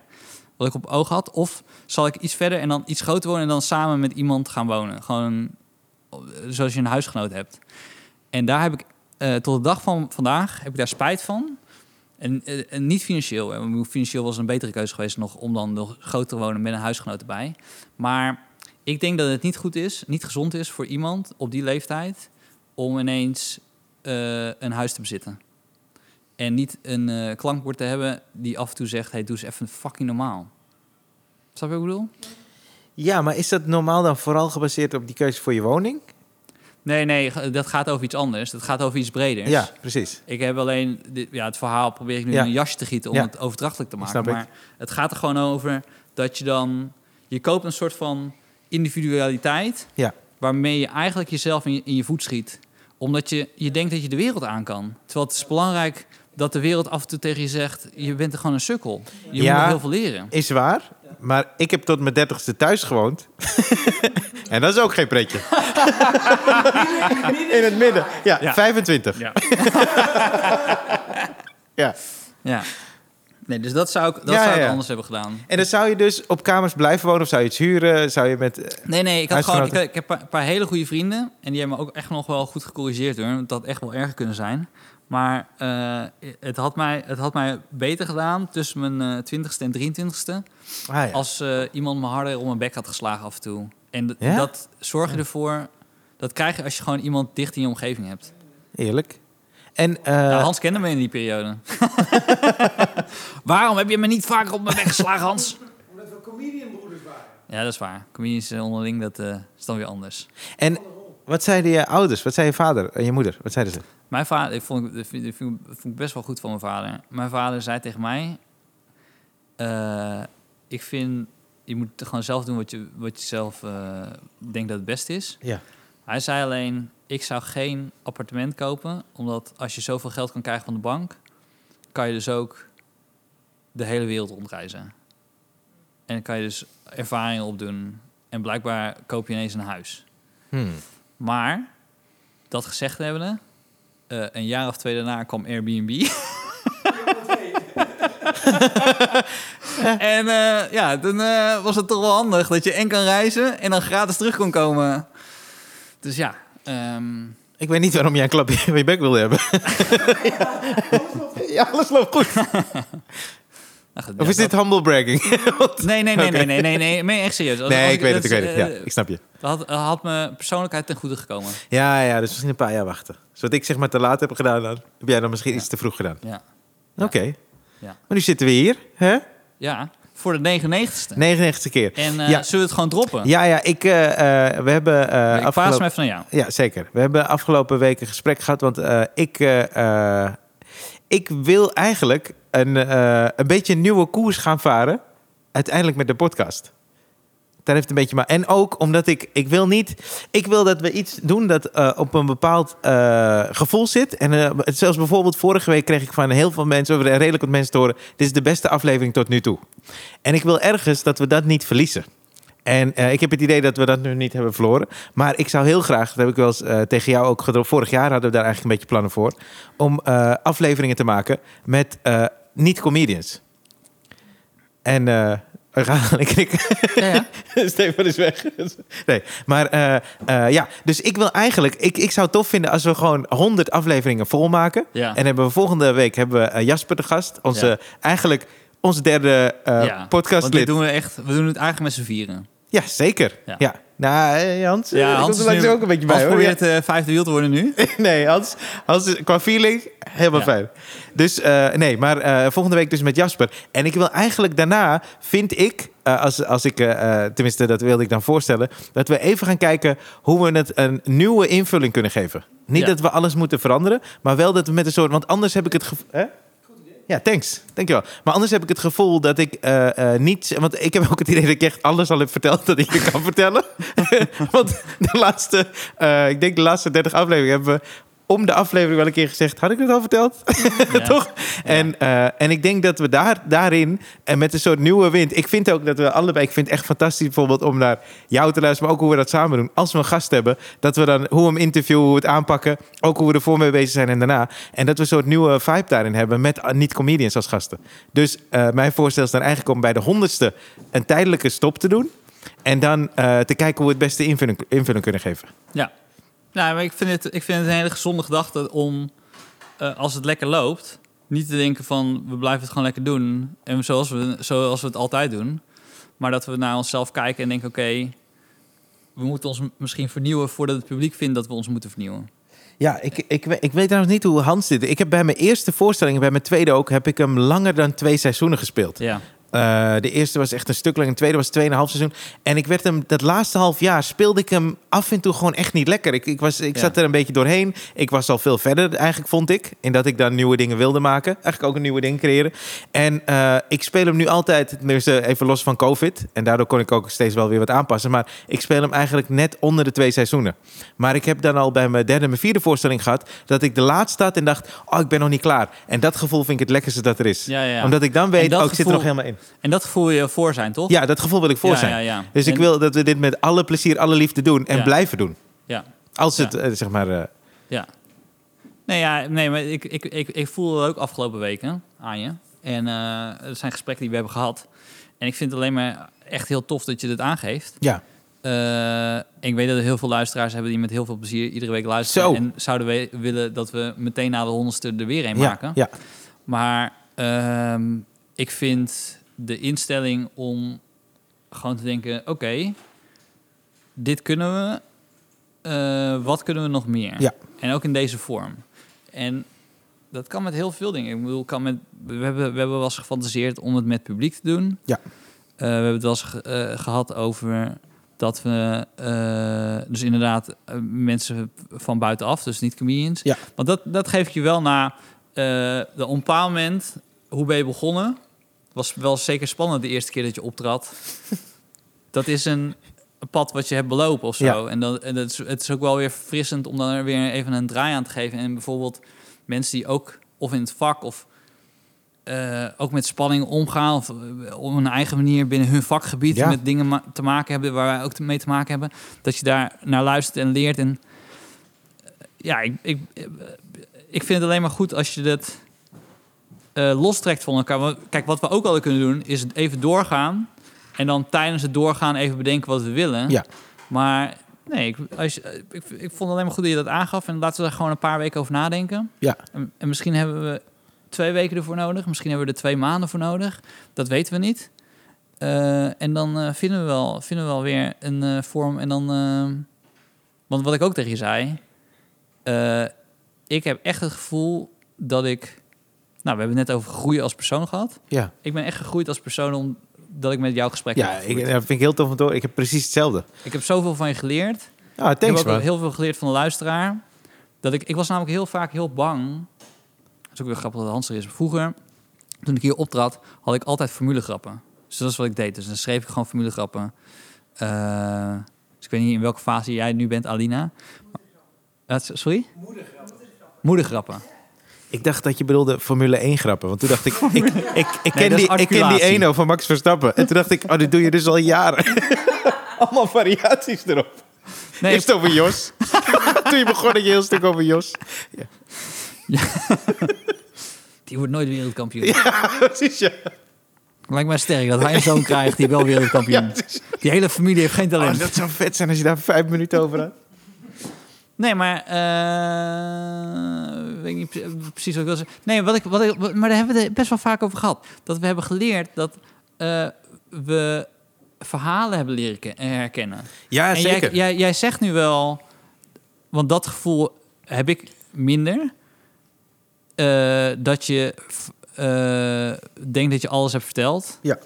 Speaker 2: wat ik op oog had. Of zal ik iets verder en dan iets groter wonen en dan samen met iemand gaan wonen? Gewoon eh, zoals je een huisgenoot hebt. En daar heb ik eh, tot de dag van vandaag heb ik daar spijt van. En, eh, en niet financieel. hè, want ik bedoel, Financieel was een betere keuze geweest nog om dan nog groter te wonen met een huisgenoot erbij. Maar ik denk dat het niet goed is, niet gezond is voor iemand op die leeftijd om ineens eh, een huis te bezitten. En niet een eh, klankbord te hebben die af en toe zegt: hey, doe eens even fucking normaal. Snap je wat ik bedoel?
Speaker 1: Ja, maar is dat normaal dan vooral gebaseerd op die keuze voor je woning?
Speaker 2: Nee, nee, g- dat gaat over iets anders. Dat gaat over iets breders.
Speaker 1: Ja, precies.
Speaker 2: Ik heb alleen dit, ja, het verhaal probeer ik nu
Speaker 1: Ja.
Speaker 2: in een jasje te gieten om
Speaker 1: Ja.
Speaker 2: het overdrachtelijk te maken.
Speaker 1: Snap ik.
Speaker 2: maar het gaat er gewoon over dat je dan je koopt een soort van individualiteit
Speaker 1: Ja.
Speaker 2: waarmee je eigenlijk jezelf in je, in je voet schiet, omdat je je denkt dat je de wereld aan kan. Terwijl het is belangrijk dat de wereld af en toe tegen je zegt: je bent er gewoon een sukkel. Je
Speaker 1: Ja.
Speaker 2: moet nog heel veel leren.
Speaker 1: Is waar, maar ik heb tot mijn dertigste thuis gewoond. en dat is ook geen pretje. In het midden. Ja,
Speaker 2: Ja.
Speaker 1: 25.
Speaker 2: Ja.
Speaker 1: ja.
Speaker 2: Ja. Nee, dus dat zou ik,
Speaker 1: Ja,
Speaker 2: dat zou
Speaker 1: ja,
Speaker 2: ik
Speaker 1: ja.
Speaker 2: anders hebben gedaan.
Speaker 1: En dan zou je dus op kamers blijven wonen of zou je iets huren? Zou je met... eh,
Speaker 2: Nee, nee, ik, had gewoon, ik,
Speaker 1: Huisgenoten.
Speaker 2: ik heb een paar hele goede vrienden. En die hebben me ook echt nog wel goed gecorrigeerd hoor. Want dat had echt wel erg kunnen zijn. Maar eh, het, had mij, het had mij beter gedaan tussen mijn eh, 20ste en 23ste.
Speaker 1: Ah, ja.
Speaker 2: Als eh, iemand me harder om mijn bek had geslagen af en toe. En d-
Speaker 1: Ja?
Speaker 2: dat zorg je ervoor. Dat krijg je als je gewoon iemand dicht in je omgeving hebt.
Speaker 1: Eerlijk. En, eh,
Speaker 2: Nou, Hans kende me in die periode. Waarom heb je me niet vaker op mijn bek geslagen, Hans?
Speaker 4: Omdat we comedianbroeders waren.
Speaker 2: Ja, dat is waar. Comedians eh, onderling, dat eh, is dan weer anders.
Speaker 1: en wat zeiden je ouders? Wat zei je vader en je moeder? Wat zeiden ze?
Speaker 2: Mijn vader, ik vond, ik vind- ik vind- ik vond ik best wel goed van mijn vader. Mijn vader zei tegen mij: eh, Ik vind, je moet gewoon zelf doen wat je, wat je zelf eh, denkt dat het beste is.
Speaker 1: Ja.
Speaker 2: Hij zei alleen: Ik zou geen appartement kopen, omdat als je zoveel geld kan krijgen van de bank, kan je dus ook de hele wereld rondreizen. En dan kan je dus ervaringen opdoen. En blijkbaar koop je ineens een huis.
Speaker 1: Hmm.
Speaker 2: Maar, dat gezegd hebbende, eh, een jaar of twee daarna kwam Airbnb. en eh, ja, toen eh, was het toch wel handig dat je en kan reizen en dan gratis terug kon komen. Dus ja, ehm,
Speaker 1: Ik weet niet waarom jij een klapje in je bek wilde hebben. ja, alles loopt goed.
Speaker 2: Nou goed,
Speaker 1: Of
Speaker 2: ja,
Speaker 1: is dit
Speaker 2: dat-
Speaker 1: humble bragging?
Speaker 2: Nee, nee, nee, nee, nee, nee, nee, nee, echt serieus.
Speaker 1: nee, ik weet het, ik
Speaker 2: Dat
Speaker 1: weet
Speaker 2: is,
Speaker 1: het. Ja,
Speaker 2: eh,
Speaker 1: ik snap je.
Speaker 2: Dat had, had mijn persoonlijkheid ten goede gekomen.
Speaker 1: Ja, ja, dus misschien een paar jaar wachten. Dus wat ik zeg maar te laat heb gedaan, dan heb jij dan misschien iets te vroeg gedaan.
Speaker 2: Ja.
Speaker 1: Oké.
Speaker 2: Ja.
Speaker 1: Maar nu zitten we hier, hè?
Speaker 2: ja, voor de 99ste.
Speaker 1: 99 keer.
Speaker 2: En eh,
Speaker 1: ja.
Speaker 2: zullen we het gewoon droppen?
Speaker 1: ja, ja, ik, eh, eh, we hebben eh,
Speaker 2: ik paas
Speaker 1: afgelopen...
Speaker 2: hem even naar jou.
Speaker 1: Ja, zeker. We hebben afgelopen week een gesprek gehad, want eh, ik, eh, eh, ik wil eigenlijk een, eh, een beetje een nieuwe koers gaan varen, uiteindelijk met de podcast. Daar heeft een beetje maar. En ook omdat ik, ik wil niet, ik wil dat we iets doen dat eh, op een bepaald eh, gevoel zit. En eh, het- zelfs bijvoorbeeld vorige week kreeg ik van heel veel mensen, over redelijk wat mensen te horen, dit is de beste aflevering tot nu toe. En ik wil ergens dat we dat niet verliezen. En eh, ik heb het idee dat we dat nu niet hebben verloren. Maar ik zou heel graag, dat heb ik wel eens eh, tegen jou ook gedropt. Vorig jaar hadden we daar eigenlijk een beetje plannen voor. Om eh, afleveringen te maken met eh, niet-comedians. En eh we gaan ik knikken.
Speaker 2: Ja, ja.
Speaker 1: Stefan is weg. nee, maar eh, eh, ja, dus ik wil eigenlijk... Ik, ik zou het tof vinden als we gewoon 100 afleveringen volmaken.
Speaker 2: Ja.
Speaker 1: En hebben we volgende week hebben we eh, Jasper de gast. Onze, Eigenlijk onze derde eh
Speaker 2: Ja, Want dit
Speaker 1: podcastlid.
Speaker 2: doen we echt, we doen het eigenlijk met z'n vieren.
Speaker 1: Ja, zeker.
Speaker 2: Ja.
Speaker 1: Ja. Nou, eh, Hans,
Speaker 2: Ja,
Speaker 1: ja, Hans
Speaker 2: is
Speaker 1: komt er
Speaker 2: nu-
Speaker 1: langs ook een beetje
Speaker 2: Hans
Speaker 1: bij. Hoor.
Speaker 2: probeert het vijfde wiel te worden nu.
Speaker 1: Ja, nee, Hans, Hans is, qua feeling helemaal
Speaker 2: Ja.
Speaker 1: fijn. Dus eh, nee, maar eh, volgende week dus met Jasper. En ik wil eigenlijk daarna, vind ik, eh, als, als ik, eh, eh, tenminste dat wilde ik dan voorstellen, dat we even gaan kijken hoe we het een nieuwe invulling kunnen geven. Niet
Speaker 2: Ja.
Speaker 1: dat we alles moeten veranderen, maar wel dat we met een soort, want anders heb ik het gevoel. Ja, thanks. Dankjewel. Maar anders heb ik het gevoel dat ik eh, eh, niet... Want ik heb ook het idee dat ik echt alles al heb verteld dat ik je kan vertellen. want de laatste... eh, ik denk de laatste 30 afleveringen hebben we om de aflevering wel een keer gezegd... Had ik het al verteld? Toch? En, eh, en ik denk dat we daar, daarin... En met een soort nieuwe wind... Ik vind ook dat we allebei... Ik vind het echt fantastisch bijvoorbeeld om naar jou te luisteren... maar ook hoe we dat samen doen. Als we een gast hebben... dat we dan hoe we hem interviewen, hoe we het aanpakken... ook hoe we ervoor mee bezig zijn en daarna. En dat we een soort nieuwe vibe daarin hebben... met eh, niet-comedians als gasten. Dus eh, mijn voorstel is dan eigenlijk om bij de honderdste... een tijdelijke stop te doen... en dan eh, te kijken hoe we het beste invulling, invulling kunnen geven.
Speaker 2: Ja. Nou, maar ik vind het, ik vind het een hele gezonde gedachte om, eh, als het lekker loopt, niet te denken van we blijven het gewoon lekker doen. En zoals we, zoals we het altijd doen. Maar dat we naar onszelf kijken en denken: oké, we moeten ons m- misschien vernieuwen voordat het publiek vindt dat we ons moeten vernieuwen.
Speaker 1: Ja, ik, ik, we- ik weet trouwens niet hoe Hans dit... Ik heb bij mijn eerste voorstelling, bij mijn tweede ook... heb ik hem langer dan twee seizoenen gespeeld.
Speaker 2: Ja.
Speaker 1: Eh, de eerste was echt een stuk lang, de tweede was 2,5 seizoen. En ik werd hem, dat laatste half jaar speelde ik hem af en toe gewoon echt niet lekker. Ik, ik, was, ik
Speaker 2: Ja.
Speaker 1: zat er een beetje doorheen. Ik was al veel verder eigenlijk, vond ik. In dat ik dan nieuwe dingen wilde maken. Eigenlijk ook een nieuwe ding creëren. En eh, ik speel hem nu altijd, dus, eh, even los van COVID. En daardoor kon ik ook steeds wel weer wat aanpassen. Maar ik speel hem eigenlijk net onder de twee seizoenen. Maar ik heb dan al bij mijn derde en mijn vierde voorstelling gehad... dat ik de laatste had en dacht, oh, ik ben nog niet klaar. En dat gevoel vind ik het lekkerste dat er is.
Speaker 2: Ja, ja, ja.
Speaker 1: Omdat ik dan
Speaker 2: En
Speaker 1: weet,
Speaker 2: dat
Speaker 1: oh, ik zit er nog
Speaker 2: gevoel-
Speaker 1: helemaal in.
Speaker 2: En dat voel je voor zijn, toch?
Speaker 1: Ja, dat gevoel wil ik voor
Speaker 2: Ja,
Speaker 1: zijn.
Speaker 2: ja, ja.
Speaker 1: Dus ik
Speaker 2: En-
Speaker 1: wil dat we dit met alle plezier, alle liefde doen en
Speaker 2: Ja.
Speaker 1: blijven doen.
Speaker 2: Ja.
Speaker 1: Als
Speaker 2: Ja.
Speaker 1: het, eh, zeg maar... eh,
Speaker 2: Ja. Nee, ja, nee maar ik, ik, ik, ik voel dat ook afgelopen weken aan je. En eh er zijn gesprekken die we hebben gehad. En ik vind het alleen maar echt heel tof dat je dit aangeeft.
Speaker 1: ja.
Speaker 2: Eh, ik weet dat er heel veel luisteraars hebben die met heel veel plezier iedere week luisteren.
Speaker 1: Zo.
Speaker 2: En zouden we willen dat we meteen na de honderdste er weer een
Speaker 1: ja,
Speaker 2: maken.
Speaker 1: ja.
Speaker 2: Maar ehm, ik vind de instelling om gewoon te denken: oké, dit kunnen we. eh, wat kunnen we nog meer?
Speaker 1: Ja.
Speaker 2: En ook in deze vorm. En dat kan met heel veel dingen. Ik bedoel, kan met, we, hebben, we hebben wel eens gefantaseerd om het met publiek te doen.
Speaker 1: Ja.
Speaker 2: Eh, we hebben het wel eens ge- eh, gehad over dat we eh, dus inderdaad eh, mensen van buitenaf, dus niet comedians.
Speaker 1: Ja.
Speaker 2: Want dat, dat geef ik je wel na eh de op een bepaald moment, hoe ben je begonnen? Was wel zeker spannend de eerste keer dat je optrad. dat is een pad wat je hebt belopen of zo.
Speaker 1: Ja.
Speaker 2: En, dat, en dat is, het is ook wel weer verfrissend om daar weer even een draai aan te geven. En bijvoorbeeld mensen die ook of in het vak of eh, ook met spanning omgaan of eh, op een eigen manier binnen hun vakgebied
Speaker 1: Ja.
Speaker 2: met dingen ma- te maken hebben waar wij ook te- mee te maken hebben, dat je daar naar luistert en leert. En eh, ja, ik, ik, eh, ik vind het alleen maar goed als je dat eh, lostrekt van elkaar. Want Kijk, wat we ook al kunnen doen is het even doorgaan en dan tijdens het doorgaan even bedenken wat we willen.
Speaker 1: Ja.
Speaker 2: Maar nee, ik, als je- eh, ik, ik vond het alleen maar goed dat je dat aangaf en laten we daar gewoon een paar weken over nadenken.
Speaker 1: Ja.
Speaker 2: En, en misschien hebben we twee weken ervoor nodig. Misschien hebben we er twee maanden voor nodig. Dat weten we niet. Eh, en dan eh, vinden, we wel, vinden we wel weer een eh, vorm. En dan. eh, want wat ik ook tegen je zei. eh, ik heb echt het gevoel dat ik. Nou, we hebben het net over groeien als persoon gehad.
Speaker 1: Ja,
Speaker 2: Ik ben echt gegroeid als persoon omdat ik met jou gesprek
Speaker 1: ja
Speaker 2: heb.
Speaker 1: ik,
Speaker 2: gevoerd.
Speaker 1: dat vind ik heel tof om te horen. Ik heb precies hetzelfde.
Speaker 2: ik heb zoveel van je geleerd.
Speaker 1: Ah,
Speaker 2: Ik
Speaker 1: thanks
Speaker 2: heb ook
Speaker 1: man.
Speaker 2: heel veel geleerd van de luisteraar. Dat ik, ik was namelijk heel vaak heel bang. Dat is ook weer grappig dat Hans er is. Vroeger, toen ik hier optrad, had ik altijd formulegrappen. Dus dat is wat ik deed. Dus dan schreef ik gewoon formulegrappen. Eh, dus ik weet niet in welke fase jij nu bent, Alina. Eh, sorry? Moedergrappen.
Speaker 1: Ik dacht dat je bedoelde Formule 1 grappen. Want toen dacht ik, ik, ik, ik, ken,
Speaker 2: dat is
Speaker 1: die, ik ken die
Speaker 2: articulatie.
Speaker 1: Eno van Max Verstappen. En toen dacht ik, oh, dit doe je dus al jaren. Allemaal variaties erop.
Speaker 2: Nee,
Speaker 1: Eerst over Jos. toen je begon had je heel stuk over Jos.
Speaker 2: die wordt nooit wereldkampioen.
Speaker 1: Ja, precies ja.
Speaker 2: Lijkt mij sterk dat hij een zoon krijgt die wel wereldkampioen
Speaker 1: Ja,
Speaker 2: is. Die hele familie heeft geen talent.
Speaker 1: Oh, dat zou vet zijn als je daar vijf minuten over had.
Speaker 2: Nee, maar eh, weet ik niet pre- precies wat ik wil zeggen. Nee, wat ik, wat ik, wat- maar daar hebben we het best wel vaak over gehad. Dat we hebben geleerd dat eh, we verhalen hebben leren ke- herkennen.
Speaker 1: Ja,
Speaker 2: En jij, jij, jij zegt nu wel, want dat gevoel heb ik minder. eh, dat je f- eh, denkt dat je alles hebt verteld.
Speaker 1: Ja.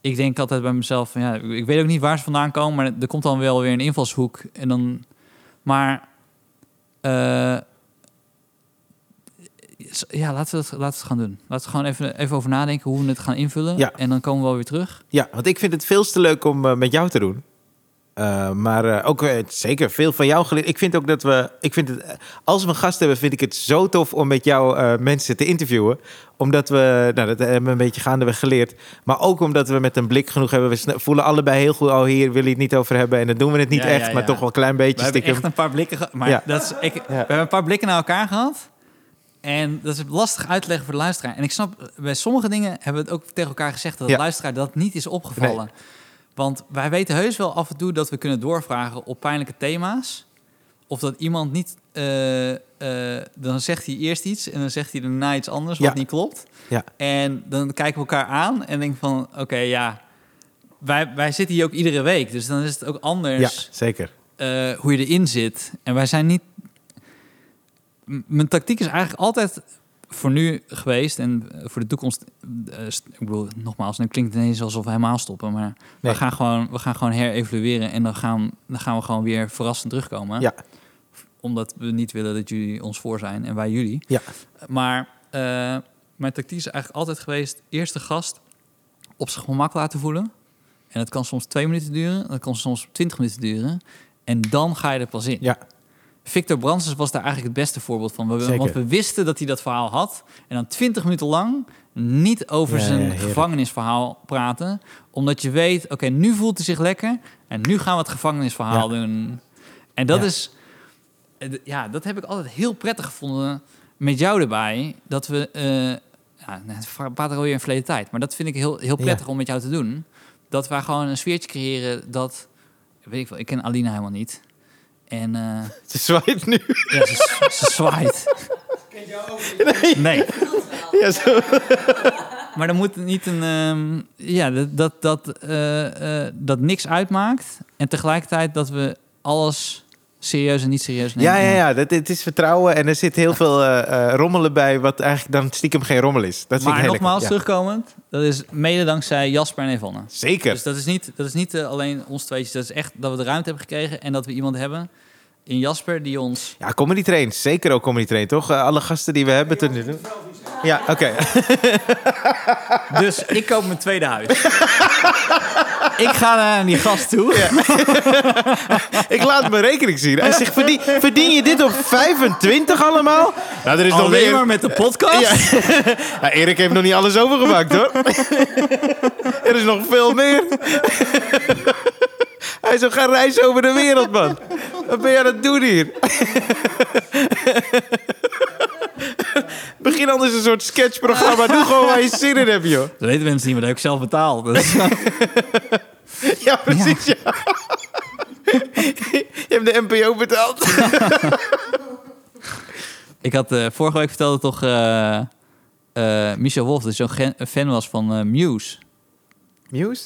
Speaker 2: Ik denk altijd bij mezelf van ja, ik- ik weet ook niet waar ze vandaan komen, maar er komt dan wel weer een invalshoek en dan. Maar eh, s- ja, laten we het, laten we het gaan doen. Laten we gewoon even, even over nadenken hoe we het gaan invullen
Speaker 1: Ja.
Speaker 2: en dan komen we wel weer terug.
Speaker 1: Ja, want ik vind het veel te leuk om eh, met jou te doen. Eh, maar eh, ook eh, zeker veel van jou geleerd. Ik vind ook dat we. Ik vind het, eh, als we een gast hebben, vind ik het zo tof om met jou eh, mensen te interviewen. Omdat we. Nou, dat hebben we een beetje gaandeweg geleerd. Maar ook omdat we met een blik genoeg hebben. We sne- voelen allebei heel goed. Oh, hier wil je het niet over hebben. En dan doen we het niet
Speaker 2: Ja,
Speaker 1: echt,
Speaker 2: ja,
Speaker 1: maar
Speaker 2: ja.
Speaker 1: toch wel een klein
Speaker 2: We
Speaker 1: beetje
Speaker 2: hebben
Speaker 1: stiekem.
Speaker 2: echt een paar blikken gehad. Maar
Speaker 1: Ja.
Speaker 2: dat is, ik, We hebben een paar blikken naar elkaar gehad. En dat is lastig uitleggen voor de luisteraar. En ik snap, bij sommige dingen hebben we het ook tegen elkaar gezegd... dat
Speaker 1: Ja.
Speaker 2: de luisteraar dat niet is opgevallen. Want wij weten heus wel af en toe dat we kunnen doorvragen op pijnlijke thema's. Of dat iemand niet... eh, eh, dan zegt hij eerst iets en dan zegt hij daarna iets anders wat
Speaker 1: Ja.
Speaker 2: niet klopt.
Speaker 1: Ja.
Speaker 2: En dan kijken we elkaar aan en denken van... oké, ja, wij, wij zitten hier ook iedere week. Dus dan is het ook
Speaker 1: ja,
Speaker 2: anders
Speaker 1: zeker.
Speaker 2: eh, hoe je erin zit. En wij zijn niet. M- mijn tactiek is eigenlijk altijd voor nu geweest en eh, voor de toekomst. eh, st- ik bedoel, nogmaals, nu klinkt het ineens alsof we helemaal stoppen. Maar
Speaker 1: Nee.
Speaker 2: we, gaan gewoon, we gaan gewoon herevalueren en dan gaan, dan gaan we gewoon weer verrassend terugkomen.
Speaker 1: Ja.
Speaker 2: Omdat we niet willen dat jullie ons voor zijn en wij jullie.
Speaker 1: Ja.
Speaker 2: Maar eh, mijn tactiek is eigenlijk altijd geweest: eerst de gast op zijn gemak laten voelen. En dat kan soms twee minuten duren, dat kan soms twintig minuten duren. En dan ga je er pas in.
Speaker 1: Ja.
Speaker 2: Victor Brandsens was daar eigenlijk het beste voorbeeld van. We-
Speaker 1: Zeker.
Speaker 2: Want we wisten dat hij dat verhaal had. En dan twintig minuten lang niet over
Speaker 1: Ja, ja,
Speaker 2: zijn
Speaker 1: heerlijk.
Speaker 2: gevangenisverhaal praten. Omdat je weet, oké, nu voelt hij zich lekker. En nu gaan we het gevangenisverhaal doen. En dat
Speaker 1: Ja.
Speaker 2: is... eh, d- Ja, dat heb ik altijd heel prettig gevonden met jou erbij. Dat we... eh ja, nou, het praat er alweer in verleden tijd. Maar dat vind ik heel, heel prettig om met jou te doen. Dat wij gewoon een sfeertje creëren dat... Weet ik wel, ik ken Alina helemaal niet. En... eh,
Speaker 1: Ze zwaait nu.
Speaker 2: ja, ze, ze zwaait. Nee.
Speaker 1: Ja, zo.
Speaker 2: Maar dan moet niet een... ehm, ja, dat, dat, dat, eh, eh, dat niks uitmaakt. En tegelijkertijd dat we alles serieus en niet serieus nemen.
Speaker 1: Ja, ja, ja. Dat, het is vertrouwen en er zit heel veel eh, eh, rommelen bij, wat eigenlijk dan stiekem geen rommel is. Dat vind ik
Speaker 2: Maar
Speaker 1: heel lekker.
Speaker 2: nogmaals,
Speaker 1: Ja.
Speaker 2: terugkomend. Dat is mede dankzij Jasper en Evanne.
Speaker 1: Zeker.
Speaker 2: Dus dat is niet, dat is niet eh, alleen ons tweetjes. Dat is echt dat we de ruimte hebben gekregen. En dat we iemand hebben in Jasper die ons...
Speaker 1: Ja, comedy train. Zeker ook comedy train, toch? Eh, alle gasten die we hebben tot nu toe. Ja, oké.
Speaker 2: Dus ik koop mijn tweede huis. ik ga naar die gast toe.
Speaker 1: ik laat mijn rekening zien. Hij zegt, verdien, verdien je dit op 25 allemaal? Nou, er is nog
Speaker 2: Alleen
Speaker 1: meer.
Speaker 2: maar met de podcast.
Speaker 1: Ja. Nou, Erik heeft nog niet alles overgemaakt, hoor. er is nog veel meer. Hij is op gaan reizen over de wereld, man. Wat ben je aan het doen hier? Begin anders een soort sketchprogramma. Doe gewoon waar je zin in hebt, joh.
Speaker 2: Dat weten mensen niet, maar dat heb ik zelf betaald. Dus,
Speaker 1: Ja, precies, ja. je hebt de NPO betaald.
Speaker 2: ik had eh, vorige week vertelde toch eh, eh, eh, Michel Wolf dus zo'n gen- fan was van eh, Muse.
Speaker 1: Muse?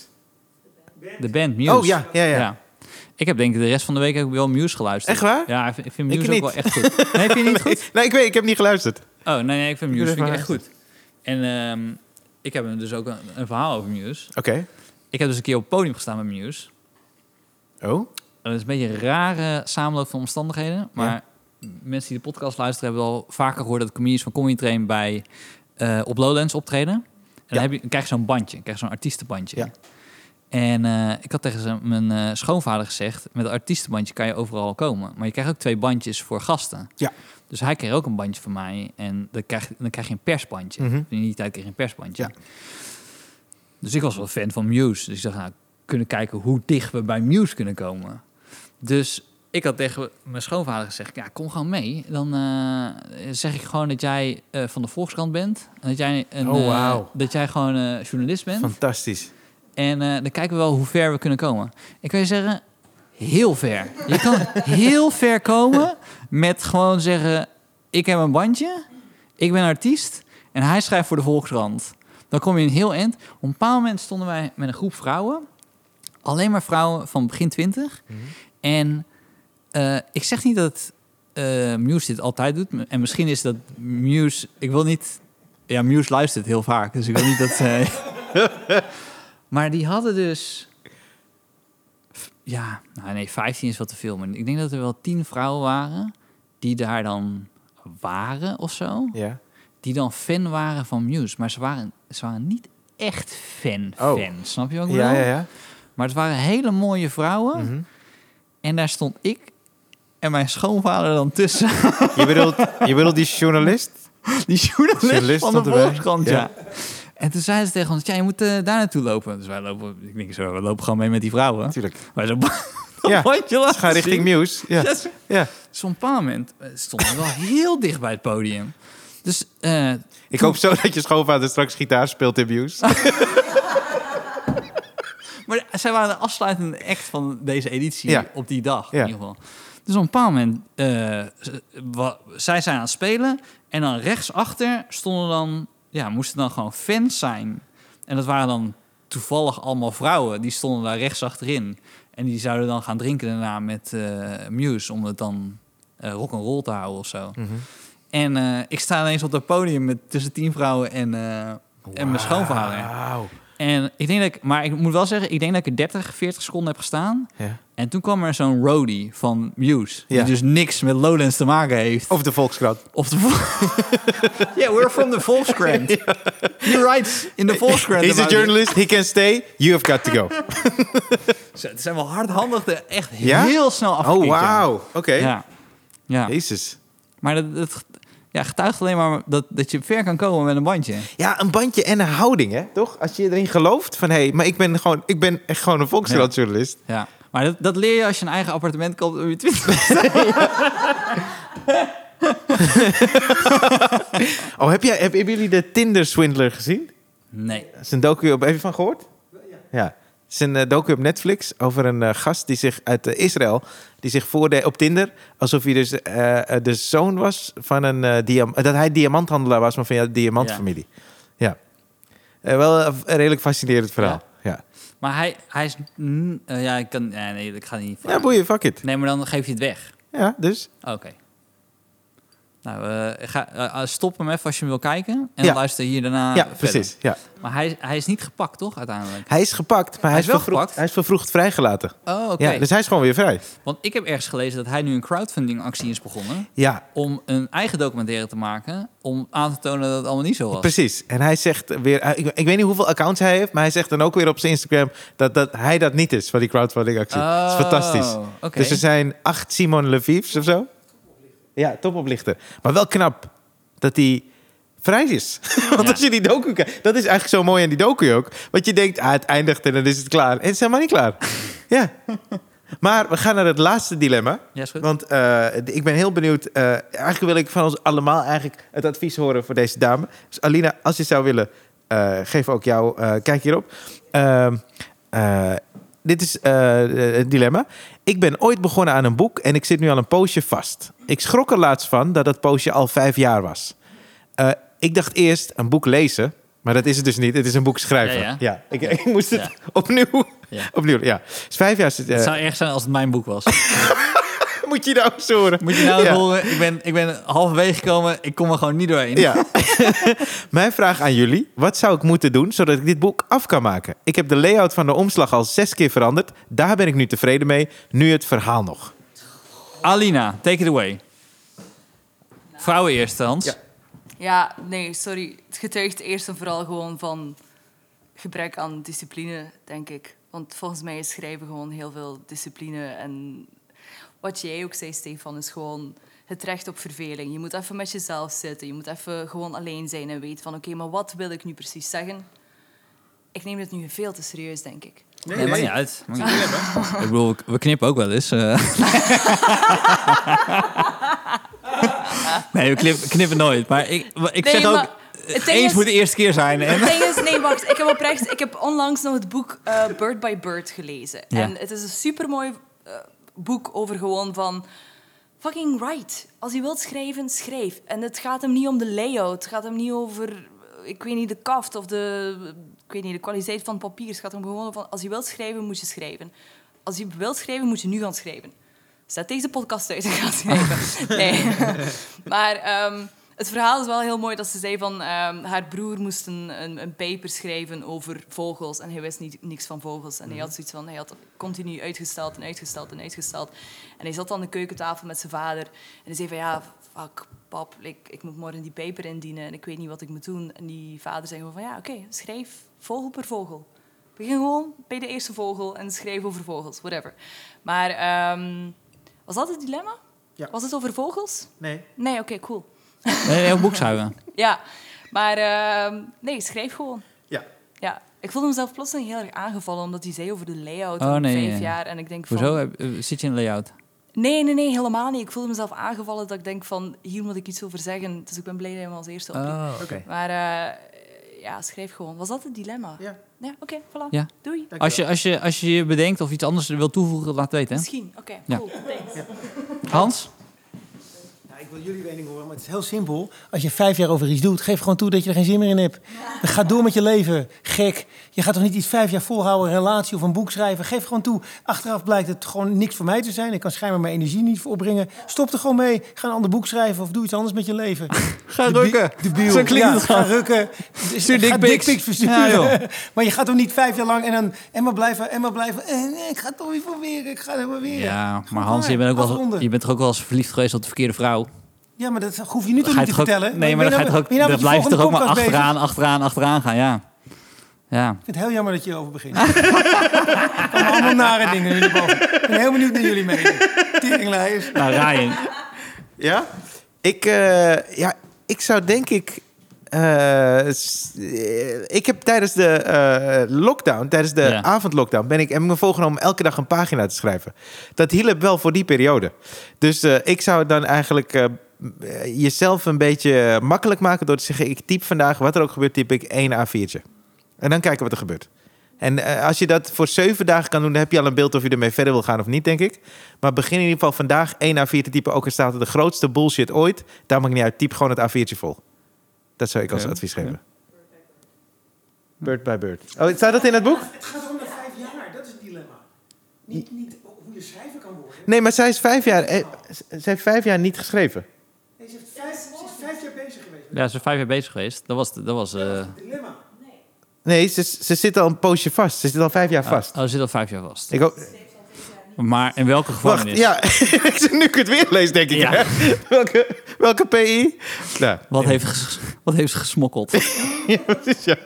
Speaker 2: De band Muse.
Speaker 1: Oh ja, ja, ja.
Speaker 2: Ik heb denk ik de rest van de week heb ik wel Muse geluisterd.
Speaker 1: Echt waar?
Speaker 2: Ja, ik vind- ik vind Muse
Speaker 1: Ik
Speaker 2: ook
Speaker 1: niet.
Speaker 2: wel echt goed. Nee, vind je niet goed?
Speaker 1: Nee, ik weet, ik heb niet geluisterd.
Speaker 2: Oh, nee, nee, ik vind Muse
Speaker 1: heb
Speaker 2: vind ik
Speaker 1: er
Speaker 2: echt goed. En ehm, ik heb dus ook een, een verhaal over Muse.
Speaker 1: Oké.
Speaker 2: Ik heb dus een keer op het podium gestaan met Muse.
Speaker 1: Oh,
Speaker 2: Dat is een beetje een rare samenloop van omstandigheden. Maar mensen die de podcast luisteren hebben al vaker gehoord dat comedians van Comedy Train bij eh, op Lowlands optreden. En dan,
Speaker 1: Ja.
Speaker 2: heb je, dan krijg je zo'n bandje, dan krijg je zo'n artiestenbandje.
Speaker 1: Ja.
Speaker 2: En eh, ik had tegen zijn- mijn eh, schoonvader gezegd: met een artiestenbandje kan je overal komen. Maar je krijgt ook twee bandjes voor gasten.
Speaker 1: Ja.
Speaker 2: Dus hij kreeg ook een bandje van mij. En dan krijg, dan krijg je een persbandje.
Speaker 1: Mhm.
Speaker 2: In die tijd kreeg je een persbandje.
Speaker 1: Ja.
Speaker 2: Dus ik was wel fan van Muse. Dus ik dacht, nou, kunnen kijken hoe dicht we bij Muse kunnen komen. Dus ik had tegen mijn schoonvader gezegd, ja, kom gewoon mee. Dan eh, zeg ik gewoon dat jij eh, van de Volkskrant bent. En dat jij, een,
Speaker 1: Oh,
Speaker 2: eh,
Speaker 1: wauw.
Speaker 2: dat jij gewoon eh, journalist bent.
Speaker 1: fantastisch.
Speaker 2: En eh, dan kijken we wel hoe ver we kunnen komen. Ik kan je zeggen, heel ver. Je kan heel ver komen met gewoon zeggen... ik heb een bandje, ik ben artiest en hij schrijft voor de Volkskrant. Dan kom je een heel eind. Op een bepaald moment stonden wij met een groep vrouwen. Alleen maar vrouwen van begin twintig. En eh, ik zeg niet dat eh, Muse dit altijd doet. En misschien is dat Muse... Ik wil niet... Ja, Muse luistert heel vaak. Dus ik wil niet dat... zij- maar die hadden dus. f- Ja, nou nee, 15 is wat te veel. Maar ik denk dat er wel 10 vrouwen waren. die daar dan waren of zo.
Speaker 1: Ja.
Speaker 2: Die dan fan waren van Muse. Maar ze waren, ze waren niet echt fan.
Speaker 1: Oh.
Speaker 2: fan Snap je wat ik
Speaker 1: Ja,
Speaker 2: bedoel?
Speaker 1: ja, Mhm. ja.
Speaker 2: Maar het waren hele mooie vrouwen. En daar stond ik en mijn schoonvader dan tussen.
Speaker 1: Je bedoelt, je bedoelt die journalist?
Speaker 2: Die journalist,
Speaker 1: Journalist
Speaker 2: van de
Speaker 1: stond erbij.
Speaker 2: Volkskrant, ja.
Speaker 1: Ja.
Speaker 2: En toen zeiden ze tegen ons, ja, je moet eh, daar naartoe lopen. Dus wij lopen, ik denk zo, we lopen gewoon mee met die vrouwen.
Speaker 1: Natuurlijk.
Speaker 2: Maar zo'n
Speaker 1: Ja,
Speaker 2: ja, bandje laten
Speaker 1: Ze gaan richting
Speaker 2: zien.
Speaker 1: Muse. Ja.
Speaker 2: Yes.
Speaker 1: ja.
Speaker 2: Zo'n paar moment eh, stonden we wel heel dicht bij het podium. Dus eh,
Speaker 1: Ik hoop zo dat je schoonvader straks gitaar speelt in Muse.
Speaker 2: Maar zij waren de afsluitende act van deze editie
Speaker 1: Ja.
Speaker 2: op die dag
Speaker 1: Ja.
Speaker 2: in ieder geval. Dus op een bepaald moment, eh, z- wa- zij zijn aan het spelen. En dan rechtsachter stonden dan, ja, moesten dan gewoon fans zijn. En dat waren dan toevallig allemaal vrouwen. Die stonden daar rechtsachterin. En die zouden dan gaan drinken daarna met eh, Muse. Om het dan eh, rock rock'n'roll te houden of zo.
Speaker 1: Mhm.
Speaker 2: En eh, ik sta ineens op dat podium met tussen tien vrouwen en, eh, en mijn schoonvader.
Speaker 1: Wauw.
Speaker 2: En ik denk dat ik, maar ik moet wel zeggen, ik denk dat ik er 30, 40 seconden heb gestaan.
Speaker 1: Ja.
Speaker 2: En toen kwam er zo'n roadie van Muse. Die
Speaker 1: Ja.
Speaker 2: dus niks met Lowlands te maken heeft.
Speaker 1: Of de Volkskrant.
Speaker 2: Of de. Vol- yeah, we're from the Volkskrant. He writes in the Volkskrant.
Speaker 1: He's a
Speaker 2: about it.
Speaker 1: journalist, he can stay, you have got to go.
Speaker 2: Ze ze zijn wel hardhandig, er echt
Speaker 1: Ja?
Speaker 2: heel snel
Speaker 1: Oh,
Speaker 2: afgekikt.
Speaker 1: wauw. Oké.
Speaker 2: Ja. ja.
Speaker 1: Jezus.
Speaker 2: Maar dat, dat ja, getuigt alleen maar dat, dat je ver kan komen met een bandje.
Speaker 1: Ja, een bandje en een houding, hè? Toch? Als je erin gelooft van, hé, hey, maar ik ben, gewoon, ik ben echt gewoon een Volkskrant-journalist.
Speaker 2: Ja. Maar dat, dat leer je als je een eigen appartement koopt op je twintig.
Speaker 1: Oh, heb jij, heb, hebben jullie de Tinder-swindler gezien?
Speaker 2: Nee.
Speaker 1: Dat is een docu op... Heb je van gehoord? Ja. Het is een eh, docu op Netflix over een eh, gast die zich uit eh, Israël... die zich voordeed op Tinder alsof hij dus eh, eh, de zoon was van een... eh, diam- dat hij diamanthandelaar was, maar van ja, de diamantfamilie. Ja. Eh, wel eh, een redelijk fascinerend verhaal. Ja,
Speaker 2: Maar hij, hij is... mm, eh, ja, ik kan... ja, nee, ik ga niet...
Speaker 1: ja. boeien, fuck it.
Speaker 2: Nee, maar dan geef je het weg.
Speaker 1: Ja, dus...
Speaker 2: Oké. Nou, eh, ga, eh, eh, stop hem even als je hem wil kijken. En dan
Speaker 1: Ja.
Speaker 2: luister hier daarna
Speaker 1: ja,
Speaker 2: verder.
Speaker 1: precies. Ja.
Speaker 2: Maar hij, hij is niet gepakt, toch, uiteindelijk?
Speaker 1: Hij is gepakt, maar hij, is
Speaker 2: is wel
Speaker 1: vervroegd-
Speaker 2: gepakt.
Speaker 1: Hij is vervroegd vrijgelaten.
Speaker 2: Oh, oké.
Speaker 1: Ja, dus hij is gewoon weer vrij.
Speaker 2: Want ik heb ergens gelezen dat hij nu een crowdfundingactie is begonnen...
Speaker 1: Ja,
Speaker 2: om een eigen documentaire te maken... om aan te tonen dat het allemaal niet zo was.
Speaker 1: Precies. En hij zegt weer, eh, ik, ik weet niet hoeveel accounts hij heeft, maar hij zegt dan ook weer op zijn Instagram dat, dat hij dat niet is van die crowdfundingactie.
Speaker 2: Oh,
Speaker 1: dat is fantastisch.
Speaker 2: oké.
Speaker 1: Dus er zijn acht Simon Levieves of zo. Ja, topoplichter. Maar wel knap dat hij vrij is. Want
Speaker 2: Ja.
Speaker 1: als je die docu kijkt, dat is eigenlijk zo mooi aan die docu ook. Want je denkt, ah, het eindigt en dan is het klaar. En het is helemaal niet klaar. ja. Maar we gaan naar het laatste dilemma.
Speaker 2: Ja, is goed.
Speaker 1: Want eh, d- ik ben heel benieuwd. eh, eigenlijk wil ik van ons allemaal eigenlijk het advies horen voor deze dame. Dus Alina, als je zou willen, eh, geef ook jou. eh, kijk hierop. Ehm, eh, dit is eh, het dilemma. Ik ben ooit begonnen aan een boek en ik zit nu al een poosje vast. Ik schrok er laatst van dat dat poosje al vijf jaar was. Eh, Ik dacht eerst een boek lezen, maar dat is het dus niet. Het is een boek schrijven.
Speaker 2: Ja, ja.
Speaker 1: ik, ik moest het
Speaker 2: Ja.
Speaker 1: opnieuw.
Speaker 2: Ja.
Speaker 1: Opnieuw, ja. Dus vijf jaar zit, eh,
Speaker 2: Het zou erg zijn als het mijn boek was.
Speaker 1: moet je nou eens horen.
Speaker 2: Moet je nou
Speaker 1: Ja.
Speaker 2: horen, ik ben, ik ben halverwege gekomen, ik kom er gewoon niet doorheen.
Speaker 1: Ja. Mijn vraag aan jullie. Wat zou ik moeten doen zodat ik dit boek af kan maken? Ik heb de layout van de omslag al zes keer veranderd. Daar ben ik nu tevreden mee. Nu het verhaal nog.
Speaker 2: Alina, take it away. Vrouwen eerst, Hans.
Speaker 1: Ja.
Speaker 3: Ja, nee, sorry. Het getuigt eerst en vooral gewoon van gebrek aan discipline, denk ik. Want volgens mij is schrijven gewoon heel veel discipline. En wat jij ook zei, Stefan, is gewoon het recht op verveling. Je moet even met jezelf zitten. Je moet even gewoon alleen zijn en weten van... Oké, maar wat wil ik nu precies zeggen? Ik neem dit nu veel te serieus, denk ik.
Speaker 2: Nee, maakt niet uit. Maakt niet uit. Ik bedoel, we- we knippen ook wel eens. eh. nee, we knip- knippen nooit. Maar ik, ik
Speaker 3: Nee,
Speaker 2: zeg
Speaker 3: maar
Speaker 2: ook,
Speaker 3: het ding
Speaker 2: eens
Speaker 3: is-
Speaker 2: moet de eerste keer zijn. En
Speaker 3: Het ding is, nee, wacht. Ik heb oprecht, ik heb onlangs nog het boek eh, Bird by Bird gelezen.
Speaker 2: Ja.
Speaker 3: En het is een supermooi eh, boek over gewoon van fucking write. Als je wilt schrijven, schrijf. En het gaat hem niet om de layout. Het gaat hem niet over, eh, ik weet niet, de kaft of de, ik weet niet, de kwaliteit van het papier. Het gaat hem gewoon van, als je wilt schrijven, moet je schrijven. Als je wilt schrijven, moet je nu gaan schrijven. Zet deze podcast uit en ga schrijven. Nee. Maar ehm, het verhaal is wel heel mooi dat ze zei van... ehm, haar broer moest een, een, een paper schrijven over vogels. En hij wist niet, niks van vogels. En hij had zoiets van... Hij had continu uitgesteld en uitgesteld en uitgesteld. En hij zat aan de keukentafel met zijn vader. En hij zei van... Ja, fuck, pap. Ik, ik moet morgen die paper indienen. En ik weet niet wat ik moet doen. En die vader zei gewoon van... Ja, oké, schrijf vogel per vogel. Begin gewoon bij de eerste vogel en schrijf over vogels. Whatever. Maar ehm, was dat het dilemma?
Speaker 4: Ja.
Speaker 3: Was het over vogels?
Speaker 4: Nee.
Speaker 3: Nee, oké, cool.
Speaker 2: Nee, heel boekzuigen.
Speaker 3: Ja, maar ehm, nee, schrijf gewoon.
Speaker 4: Ja.
Speaker 3: Ja, ik voelde mezelf plotseling heel erg aangevallen omdat hij zei over de layout
Speaker 2: Oh,
Speaker 3: van
Speaker 2: nee,
Speaker 3: vijf
Speaker 2: ja.
Speaker 3: jaar. En ik denk van,
Speaker 2: Hoezo? Heb- eh, Zit je in een layout?
Speaker 3: Nee, nee, nee, helemaal niet. Ik voelde mezelf aangevallen dat ik denk van, hier moet ik iets over zeggen. Dus ik ben blij dat hij me als eerste opriep.
Speaker 2: Oh.
Speaker 4: Oké.
Speaker 3: Maar eh, ja, schrijf gewoon. Was dat het dilemma?
Speaker 4: Ja.
Speaker 3: Ja, oké, voilà.
Speaker 2: Ja.
Speaker 3: Doei.
Speaker 2: Als je, als, je, als je je bedenkt of iets anders wil toevoegen, laat weten. hè?
Speaker 3: Misschien, oké,
Speaker 2: Ja.
Speaker 3: cool, thanks.
Speaker 2: Hans?
Speaker 4: Ja, ik wil jullie mening horen, maar het is heel simpel. Als je vijf jaar over iets doet, geef gewoon toe dat je er geen zin meer in hebt. Ga door met je leven, gek. Je gaat toch niet iets vijf jaar volhouden, een relatie of een boek schrijven. Geef gewoon toe. Achteraf blijkt het gewoon niks voor mij te zijn. Ik kan schijnbaar mijn energie niet voor opbrengen. Stop er gewoon mee. Ga een ander boek schrijven of doe iets anders met je leven.
Speaker 2: Ga
Speaker 4: De bi- De biel.
Speaker 2: Zo klinkt
Speaker 4: Ja,
Speaker 2: het
Speaker 4: ga
Speaker 2: gewoon.
Speaker 4: rukken.
Speaker 2: Stuur
Speaker 4: Ga
Speaker 2: dickpics.
Speaker 4: dickpics versturen.
Speaker 2: Ja, joh.
Speaker 4: maar je gaat toch niet vijf jaar lang en dan... En maar blijven, en maar blijven. Eh, nee, ik ga het toch weer proberen. Ik ga het proberen.
Speaker 2: Ja, maar
Speaker 4: Gewoon
Speaker 2: Hans, je
Speaker 4: waar.
Speaker 2: bent, ook wel,
Speaker 4: Afronden.
Speaker 2: je bent toch ook wel eens verliefd geweest op de verkeerde vrouw?
Speaker 4: Ja, maar dat hoef je nu toch
Speaker 2: Ga je
Speaker 4: niet te
Speaker 2: toch ook-
Speaker 4: vertellen?
Speaker 2: nee, maar dan,
Speaker 4: nou
Speaker 2: ga je toch ook, dan blijf je toch ook maar achteraan, achteraan, achteraan gaan, ja. Ja.
Speaker 4: Ik vind het heel jammer dat je erover begint. Er komen allemaal nare dingen nu boven. Ik ben heel benieuwd naar jullie mening. Teringleiers.
Speaker 2: Nou, Ryan.
Speaker 1: Ja? Ik, eh, ja, ik zou denk ik... eh, s- eh, ik heb tijdens de eh, lockdown, tijdens de
Speaker 2: Ja.
Speaker 1: avondlockdown, ben ik, heb ik me voorgenomen om elke dag een pagina te schrijven. Dat hielp wel voor die periode. Dus eh, ik zou dan eigenlijk eh, eh, jezelf een beetje makkelijk maken door te zeggen: ik typ vandaag, wat er ook gebeurt, typ ik één A4'tje. En dan kijken wat er gebeurt. En eh, als je dat voor zeven dagen kan doen, dan heb je al een beeld of je ermee verder wil gaan of niet, denk ik. Maar begin in ieder geval vandaag 1 A4 te typen. Ook al staat het de grootste bullshit ooit. Daar maakt niet uit. Typ gewoon het A4'tje vol. Dat zou ik als
Speaker 2: Ja,
Speaker 1: advies
Speaker 2: ja.
Speaker 1: geven. Bird by bird. Oh, staat dat in het boek?
Speaker 4: Het gaat om de vijf jaar, dat is het dilemma. Niet, niet hoe je schrijver kan worden.
Speaker 1: Nee, maar zij is vijf jaar, eh, ze heeft vijf jaar niet geschreven.
Speaker 4: Nee, ze, heeft vijf, ze is vijf jaar bezig geweest met
Speaker 2: Ja, ze zijn vijf jaar bezig geweest. Dat was... Dat was eh,
Speaker 4: het dilemma.
Speaker 1: Nee, ze, ze zit al een poosje vast. Ze zit al vijf jaar vast.
Speaker 2: Oh, ze zit al vijf jaar vast.
Speaker 1: Ik hoop-
Speaker 2: Maar in welke
Speaker 1: Wacht,
Speaker 2: gevangenis?
Speaker 1: ja. ik zit nu ik het weer lees, denk ik.
Speaker 2: Ja.
Speaker 1: hè. welke, welke PI? Nou,
Speaker 2: Wat, heeft, ges- wat heeft ze gesmokkeld?
Speaker 1: Ja, precies, ja.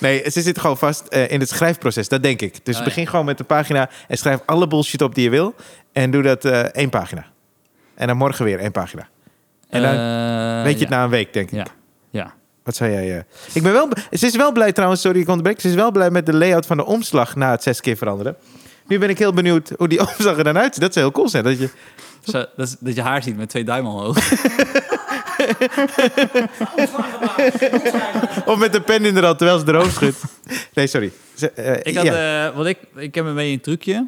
Speaker 1: Nee, ze zit gewoon vast eh, in het schrijfproces, dat denk ik. Dus
Speaker 2: Oh, ja.
Speaker 1: begin gewoon met een pagina en schrijf alle bullshit op die je wil. En doe dat eh, één pagina. En dan morgen weer één pagina. En dan
Speaker 2: Eh,
Speaker 1: nou, weet je het nou?
Speaker 2: ja.
Speaker 1: na een week, denk ik.
Speaker 2: Ja. Ja.
Speaker 1: Wat zei jij? eh? Ik ben wel... b- Ze is wel blij trouwens, sorry ik ontbreek. Ze is wel blij met de layout van de omslag na het zes keer veranderen. Nu ben ik heel benieuwd hoe die omslag er dan uitziet. Dat zou heel cool zijn. Dat je...
Speaker 2: Zo, dat, is- dat je haar ziet met twee duimen omhoog.
Speaker 1: Of met de pen in de rand, terwijl ze erover schudt. Nee, sorry. Ze- eh,
Speaker 2: Ik, had,
Speaker 1: ja.
Speaker 2: eh, wat ik, ik heb een beetje een trucje.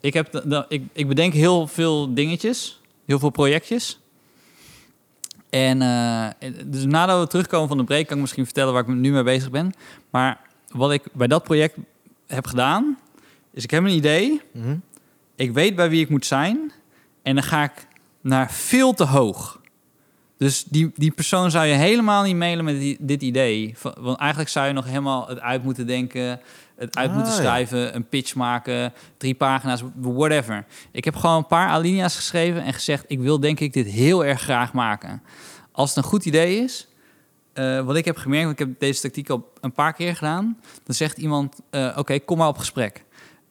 Speaker 2: Ik, heb, de- de- ik, ik bedenk heel veel dingetjes. Heel veel projectjes. En eh, dus nadat we terugkomen van de break, kan ik misschien vertellen waar ik nu mee bezig ben. Maar wat ik bij dat project heb gedaan, is Dus ik heb een idee.
Speaker 1: Mhm.
Speaker 2: Ik weet bij wie ik moet zijn. En dan ga ik naar veel te hoog. Dus die, die persoon zou je helemaal niet mailen met die- dit idee. Va- Want eigenlijk zou je nog helemaal het uit moeten denken, het uit
Speaker 1: Ah,
Speaker 2: moeten
Speaker 1: ja.
Speaker 2: schrijven, een pitch maken, drie pagina's, whatever. Ik heb gewoon een paar alinea's geschreven en gezegd: ik wil denk ik dit heel erg graag maken. Als het een goed idee is, eh, wat ik heb gemerkt, want ik heb deze tactiek al een paar keer gedaan, dan zegt iemand: eh, oké, kom maar op gesprek.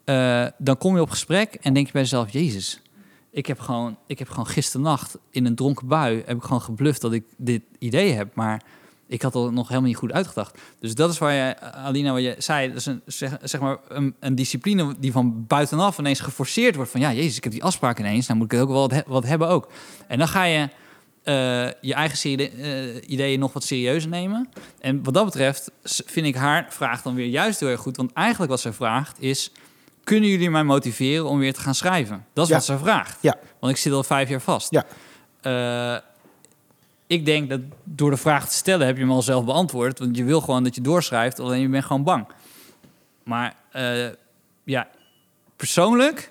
Speaker 2: Eh, dan kom je op gesprek en denk je bij jezelf: Jezus, ik heb gewoon, ik heb gewoon gisternacht in een dronken bui heb ik gewoon gebluft dat ik dit idee heb, maar ik had het nog helemaal niet goed uitgedacht. Dus dat is waar je, Alina, wat je zei, dat is een, zeg, zeg maar een, een discipline die van buitenaf ineens geforceerd wordt. Van ja, jezus, ik heb die afspraak ineens, nou moet ik het ook wel wat, he- wat hebben ook. En dan ga je eh, je eigen serie- eh, ideeën nog wat serieuzer nemen. En wat dat betreft s- vind ik haar vraag dan weer juist heel erg goed. Want eigenlijk wat zij vraagt is... kunnen jullie mij motiveren om weer te gaan schrijven? Dat is
Speaker 1: Ja.
Speaker 2: wat zij vraagt.
Speaker 1: Ja.
Speaker 2: Want ik zit al vijf jaar vast.
Speaker 1: Ja.
Speaker 2: Eh, ik denk dat door de vraag te stellen heb je hem al zelf beantwoord. Want je wil gewoon dat je doorschrijft, alleen je bent gewoon bang. Maar eh, ja, persoonlijk...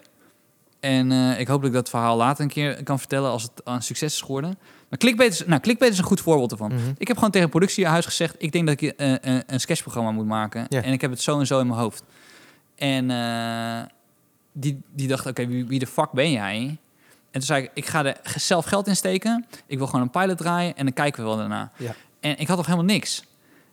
Speaker 2: En eh, ik hoop dat ik dat verhaal later een keer kan vertellen als het een succes is geworden. Maar clickbait is, nou, clickbait is een goed voorbeeld ervan.
Speaker 1: Mhm.
Speaker 2: Ik heb gewoon tegen het productiehuis gezegd... ik denk dat ik eh, een, een sketchprogramma moet maken.
Speaker 1: Ja.
Speaker 2: En ik heb het zo en zo in mijn hoofd. En eh, die, die dacht, oké, wie, wie de fuck ben jij? En toen zei ik, ik ga er ge- zelf geld in steken. Ik wil gewoon een pilot draaien en dan kijken we wel daarna.
Speaker 1: Ja.
Speaker 2: En ik had nog helemaal niks.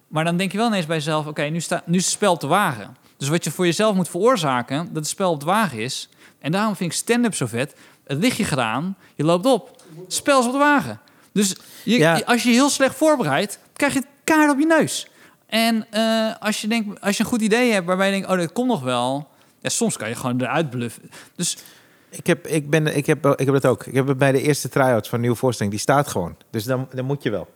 Speaker 2: Maar dan denk je wel ineens bij jezelf, oké, nu, sta- nu is het spel op de wagen. Dus wat je voor jezelf moet veroorzaken, dat het spel op de wagen is. En daarom vind ik stand-up zo vet. Het lichtje gedaan, je loopt op. Het spel is op de wagen. Dus je,
Speaker 1: Ja.
Speaker 2: je- als je je heel slecht voorbereidt, krijg je het kaart op je neus. En eh, als, je denkt, als je een goed idee hebt waarbij je denkt, oh, dat komt nog wel. Ja, soms kan je gewoon eruit bluffen. Dus
Speaker 1: Ik heb, ik, ben, ik, heb, ik heb dat ook. Ik heb het bij de eerste try-outs van Nieuwe Voorstelling. Die staat gewoon. Dus dan, dan moet je wel.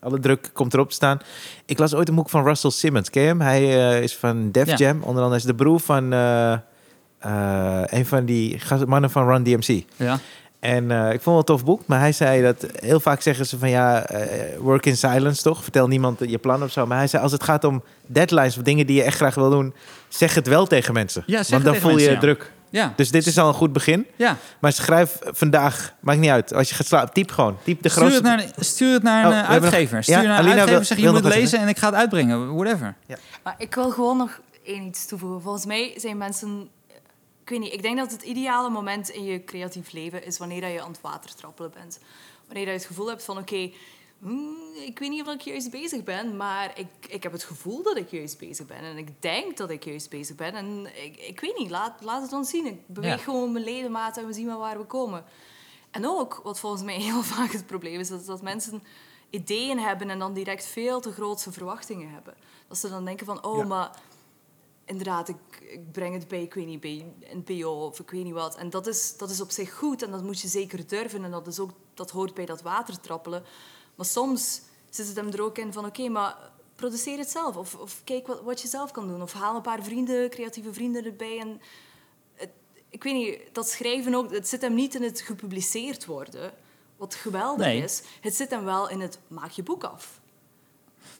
Speaker 1: Alle druk komt erop te staan. Ik las ooit een boek van Russell Simmons. Ken je hem? Hij eh, is van Def
Speaker 2: Ja.
Speaker 1: Jam. Onder andere is de broer van eh, eh, een van die gast- mannen van Run DMC.
Speaker 2: ja,
Speaker 1: En eh, ik vond het wel een tof boek. Maar hij zei dat... Heel vaak zeggen ze van ja, eh, work in silence toch? Vertel niemand je plan of zo. Maar hij zei als het gaat om deadlines of dingen die je echt graag wil doen... Zeg het wel tegen mensen.
Speaker 2: Ja, zeg
Speaker 1: Want
Speaker 2: het
Speaker 1: dan
Speaker 2: tegen
Speaker 1: voel je
Speaker 2: mensen, ja.
Speaker 1: druk.
Speaker 2: ja,
Speaker 1: Dus dit is al een goed begin.
Speaker 2: ja.
Speaker 1: Maar schrijf vandaag, maakt niet uit. Als je gaat slapen, typ gewoon. Typ de
Speaker 2: Stuur
Speaker 1: grootste...
Speaker 2: het naar, de- stuur het
Speaker 1: Oh,
Speaker 2: naar een
Speaker 1: we
Speaker 2: eh,
Speaker 1: hebben nog-
Speaker 2: uitgever. Stuur
Speaker 1: Ja,
Speaker 2: naar een
Speaker 1: Alina wil-
Speaker 2: uitgever en zeg je, je
Speaker 1: wil
Speaker 2: moet
Speaker 1: nog
Speaker 2: het
Speaker 1: wat
Speaker 2: lezen en ik ga het uitbrengen. Whatever.
Speaker 3: Maar ik wil gewoon nog één iets toevoegen. Volgens mij zijn mensen... Ik weet niet, ik denk dat het ideale moment in je creatief leven is wanneer dat je aan het water trappelen bent. Wanneer dat je het gevoel hebt van, oké, hmm, ik weet niet of ik juist bezig ben, maar ik, ik heb het gevoel dat ik juist bezig ben. En ik denk dat ik juist bezig ben. En ik, ik weet niet, laat, laat het ons zien. Ik beweeg
Speaker 2: Ja.
Speaker 3: gewoon mijn ledematen en we zien wel waar we komen. En ook, wat volgens mij heel vaak het probleem is, is dat mensen ideeën hebben en dan direct veel te grootse verwachtingen hebben. Dat ze dan denken van, oh, maar inderdaad, ik, ik breng het bij, ik weet niet, bij een PO of ik weet niet wat. En dat is, dat is op zich goed en dat moet je zeker durven. En dat, is ook, dat hoort bij dat watertrappelen. Maar soms zit het hem er ook in van, oké, maar produceer het zelf. Of, of kijk wat, wat je zelf kan doen. Of haal een paar vrienden, creatieve vrienden erbij en ik weet niet, dat schrijven ook, het zit hem niet in het gepubliceerd worden, wat geweldig
Speaker 2: Nee.
Speaker 3: is. Het zit hem wel in het maak je boek af.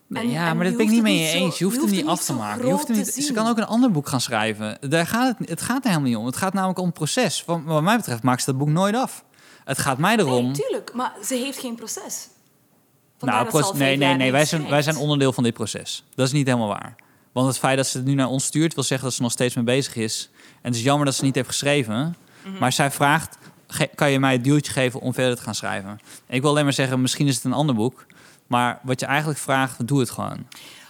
Speaker 2: Nee,
Speaker 3: En-
Speaker 2: ja,
Speaker 3: en
Speaker 2: maar dat
Speaker 3: je
Speaker 2: ben ik
Speaker 3: hoeft
Speaker 2: niet
Speaker 3: het
Speaker 2: mee
Speaker 3: niet zo-
Speaker 2: eens. Je hoeft hem niet af te
Speaker 3: zo
Speaker 2: maken. Je
Speaker 3: groot
Speaker 2: hoeft hem
Speaker 3: te
Speaker 2: niet, ze
Speaker 3: zien.
Speaker 2: kan ook een ander boek gaan schrijven. Daar gaat het, het gaat er helemaal niet om. Het gaat namelijk om het proces. Wat, wat mij betreft maakt ze dat boek nooit af. Het gaat mij
Speaker 3: Nee,
Speaker 2: erom.
Speaker 3: tuurlijk, maar ze heeft geen proces. Vandaar
Speaker 2: nou,
Speaker 3: dat ze
Speaker 2: proces-
Speaker 3: al vijf
Speaker 2: nee, nee,
Speaker 3: jaar
Speaker 2: nee.
Speaker 3: niet
Speaker 2: Wij zijn, wij
Speaker 3: schrijft.
Speaker 2: zijn onderdeel van dit proces. Dat is niet helemaal waar. Want het feit dat ze het nu naar ons stuurt, wil zeggen dat ze nog steeds mee bezig is. En het is jammer dat ze niet heeft geschreven.
Speaker 3: Mhm.
Speaker 2: Maar zij vraagt: "Ge- kan je mij het duwtje geven om verder te gaan schrijven? En ik wil alleen maar zeggen: misschien is het een ander boek. Maar wat je eigenlijk vraagt, doe het gewoon.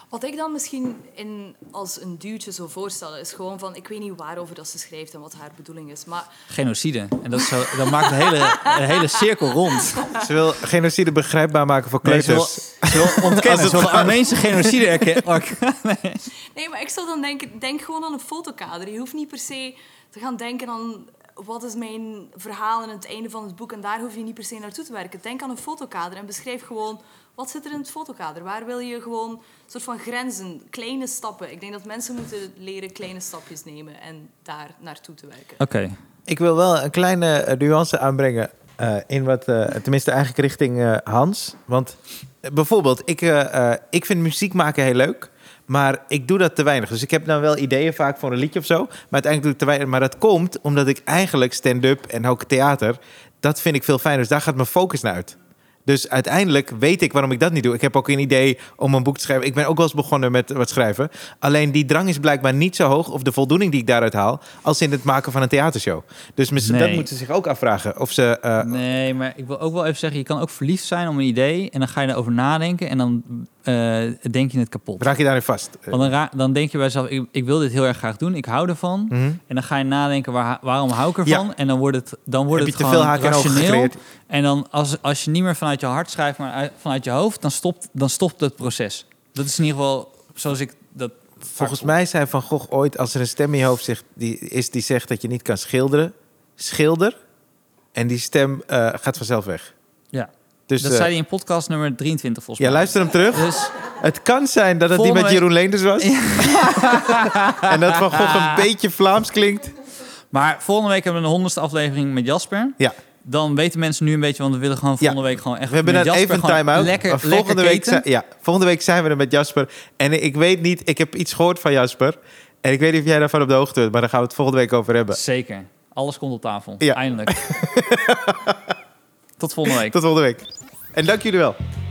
Speaker 3: Wat ik dan misschien in, als een duwtje zou voorstellen, is gewoon van, ik weet niet waarover dat ze schrijft en wat haar bedoeling is, maar
Speaker 2: genocide. En dat, is zo, dat maakt een hele, een hele cirkel rond.
Speaker 1: Ze wil genocide begrijpbaar maken voor
Speaker 2: Nee, ze wil,
Speaker 1: kleuters.
Speaker 2: ze wil ontkennen. Ze wil de Armeense genocide erkennen.
Speaker 3: Nee, maar ik zou dan denken, denk gewoon aan een fotokader. Je hoeft niet per se te gaan denken aan wat is mijn verhaal aan het einde van het boek. En daar hoef je niet per se naartoe te werken. Denk aan een fotokader en beschrijf gewoon wat zit er in het fotokader. Waar wil je gewoon een soort van grenzen, kleine stappen. Ik denk dat mensen moeten leren kleine stapjes nemen en daar naartoe te werken.
Speaker 2: Oké.
Speaker 1: Ik wil wel een kleine eh, nuance aanbrengen. eh, in wat, eh, tenminste eigenlijk richting eh, Hans. Want eh, bijvoorbeeld, ik, eh, eh, ik vind muziek maken heel leuk. Maar ik doe dat te weinig. Dus ik heb dan wel ideeën vaak voor een liedje of zo. Maar uiteindelijk doe ik te weinig. Maar dat komt omdat ik eigenlijk stand-up en ook theater... dat vind ik veel fijner. Dus daar gaat mijn focus naar uit. Dus uiteindelijk weet ik waarom ik dat niet doe. Ik heb ook een idee om een boek te schrijven. Ik ben ook wel eens begonnen met wat schrijven. Alleen die drang is blijkbaar niet zo hoog... of de voldoening die ik daaruit haal... als in het maken van een theatershow. Dus mis-
Speaker 2: Nee.
Speaker 1: dat moeten ze zich ook afvragen. Of ze eh,
Speaker 2: Nee, maar ik wil ook wel even zeggen, je kan ook verliefd zijn om een idee en dan ga je erover nadenken en dan eh, denk je het kapot.
Speaker 1: Raak je daarin vast?
Speaker 2: Want dan, ra- dan denk je bij jezelf, ik, ik wil dit heel erg graag doen, ik hou ervan.
Speaker 1: Mhm.
Speaker 2: En dan ga je nadenken, waar, waarom hou ik ervan? En dan wordt het, dan wordt
Speaker 1: Heb
Speaker 2: het
Speaker 1: je te
Speaker 2: gewoon
Speaker 1: veel haken en ogen
Speaker 2: rationeel.
Speaker 1: gecreëerd?
Speaker 2: En dan als, als je niet meer vanuit je hart schrijft, maar uit- vanuit je hoofd, dan stopt, dan stopt het proces. Dat is in ieder geval zoals ik dat...
Speaker 1: Volgens mij zei Van Gogh ooit... als er een stem in je hoofd zegt, die, is die zegt dat je niet kan schilderen... schilder en die stem eh, gaat vanzelf weg.
Speaker 2: Ja.
Speaker 1: Dus
Speaker 2: dat
Speaker 1: eh,
Speaker 2: zei hij in podcast nummer 23 volgens
Speaker 1: ja,
Speaker 2: mij.
Speaker 1: luister hem terug.
Speaker 2: Dus
Speaker 1: Het kan zijn dat het die
Speaker 2: Volgende
Speaker 1: met
Speaker 2: week-
Speaker 1: Jeroen Leenders was. en dat Van Gogh een beetje Vlaams klinkt.
Speaker 2: Maar volgende week hebben we een honderdste aflevering met Jasper.
Speaker 1: Ja.
Speaker 2: Dan weten mensen nu een beetje, want we willen gewoon volgende
Speaker 1: Ja.
Speaker 2: week gewoon echt
Speaker 1: We hebben
Speaker 2: met
Speaker 1: dan
Speaker 2: Jasper
Speaker 1: even een
Speaker 2: gewoon
Speaker 1: time-out.
Speaker 2: Lekker,
Speaker 1: Maar
Speaker 2: lekker
Speaker 1: volgende, week
Speaker 2: keten.
Speaker 1: zijn- ja, volgende week zijn we er met Jasper. En ik weet niet, ik heb iets gehoord van Jasper. En ik weet niet of jij daarvan op de hoogte bent, maar daar gaan we het volgende week over hebben.
Speaker 2: Zeker. Alles komt op tafel.
Speaker 1: Ja.
Speaker 2: Eindelijk. Tot volgende week.
Speaker 1: Tot volgende week. En dank jullie wel.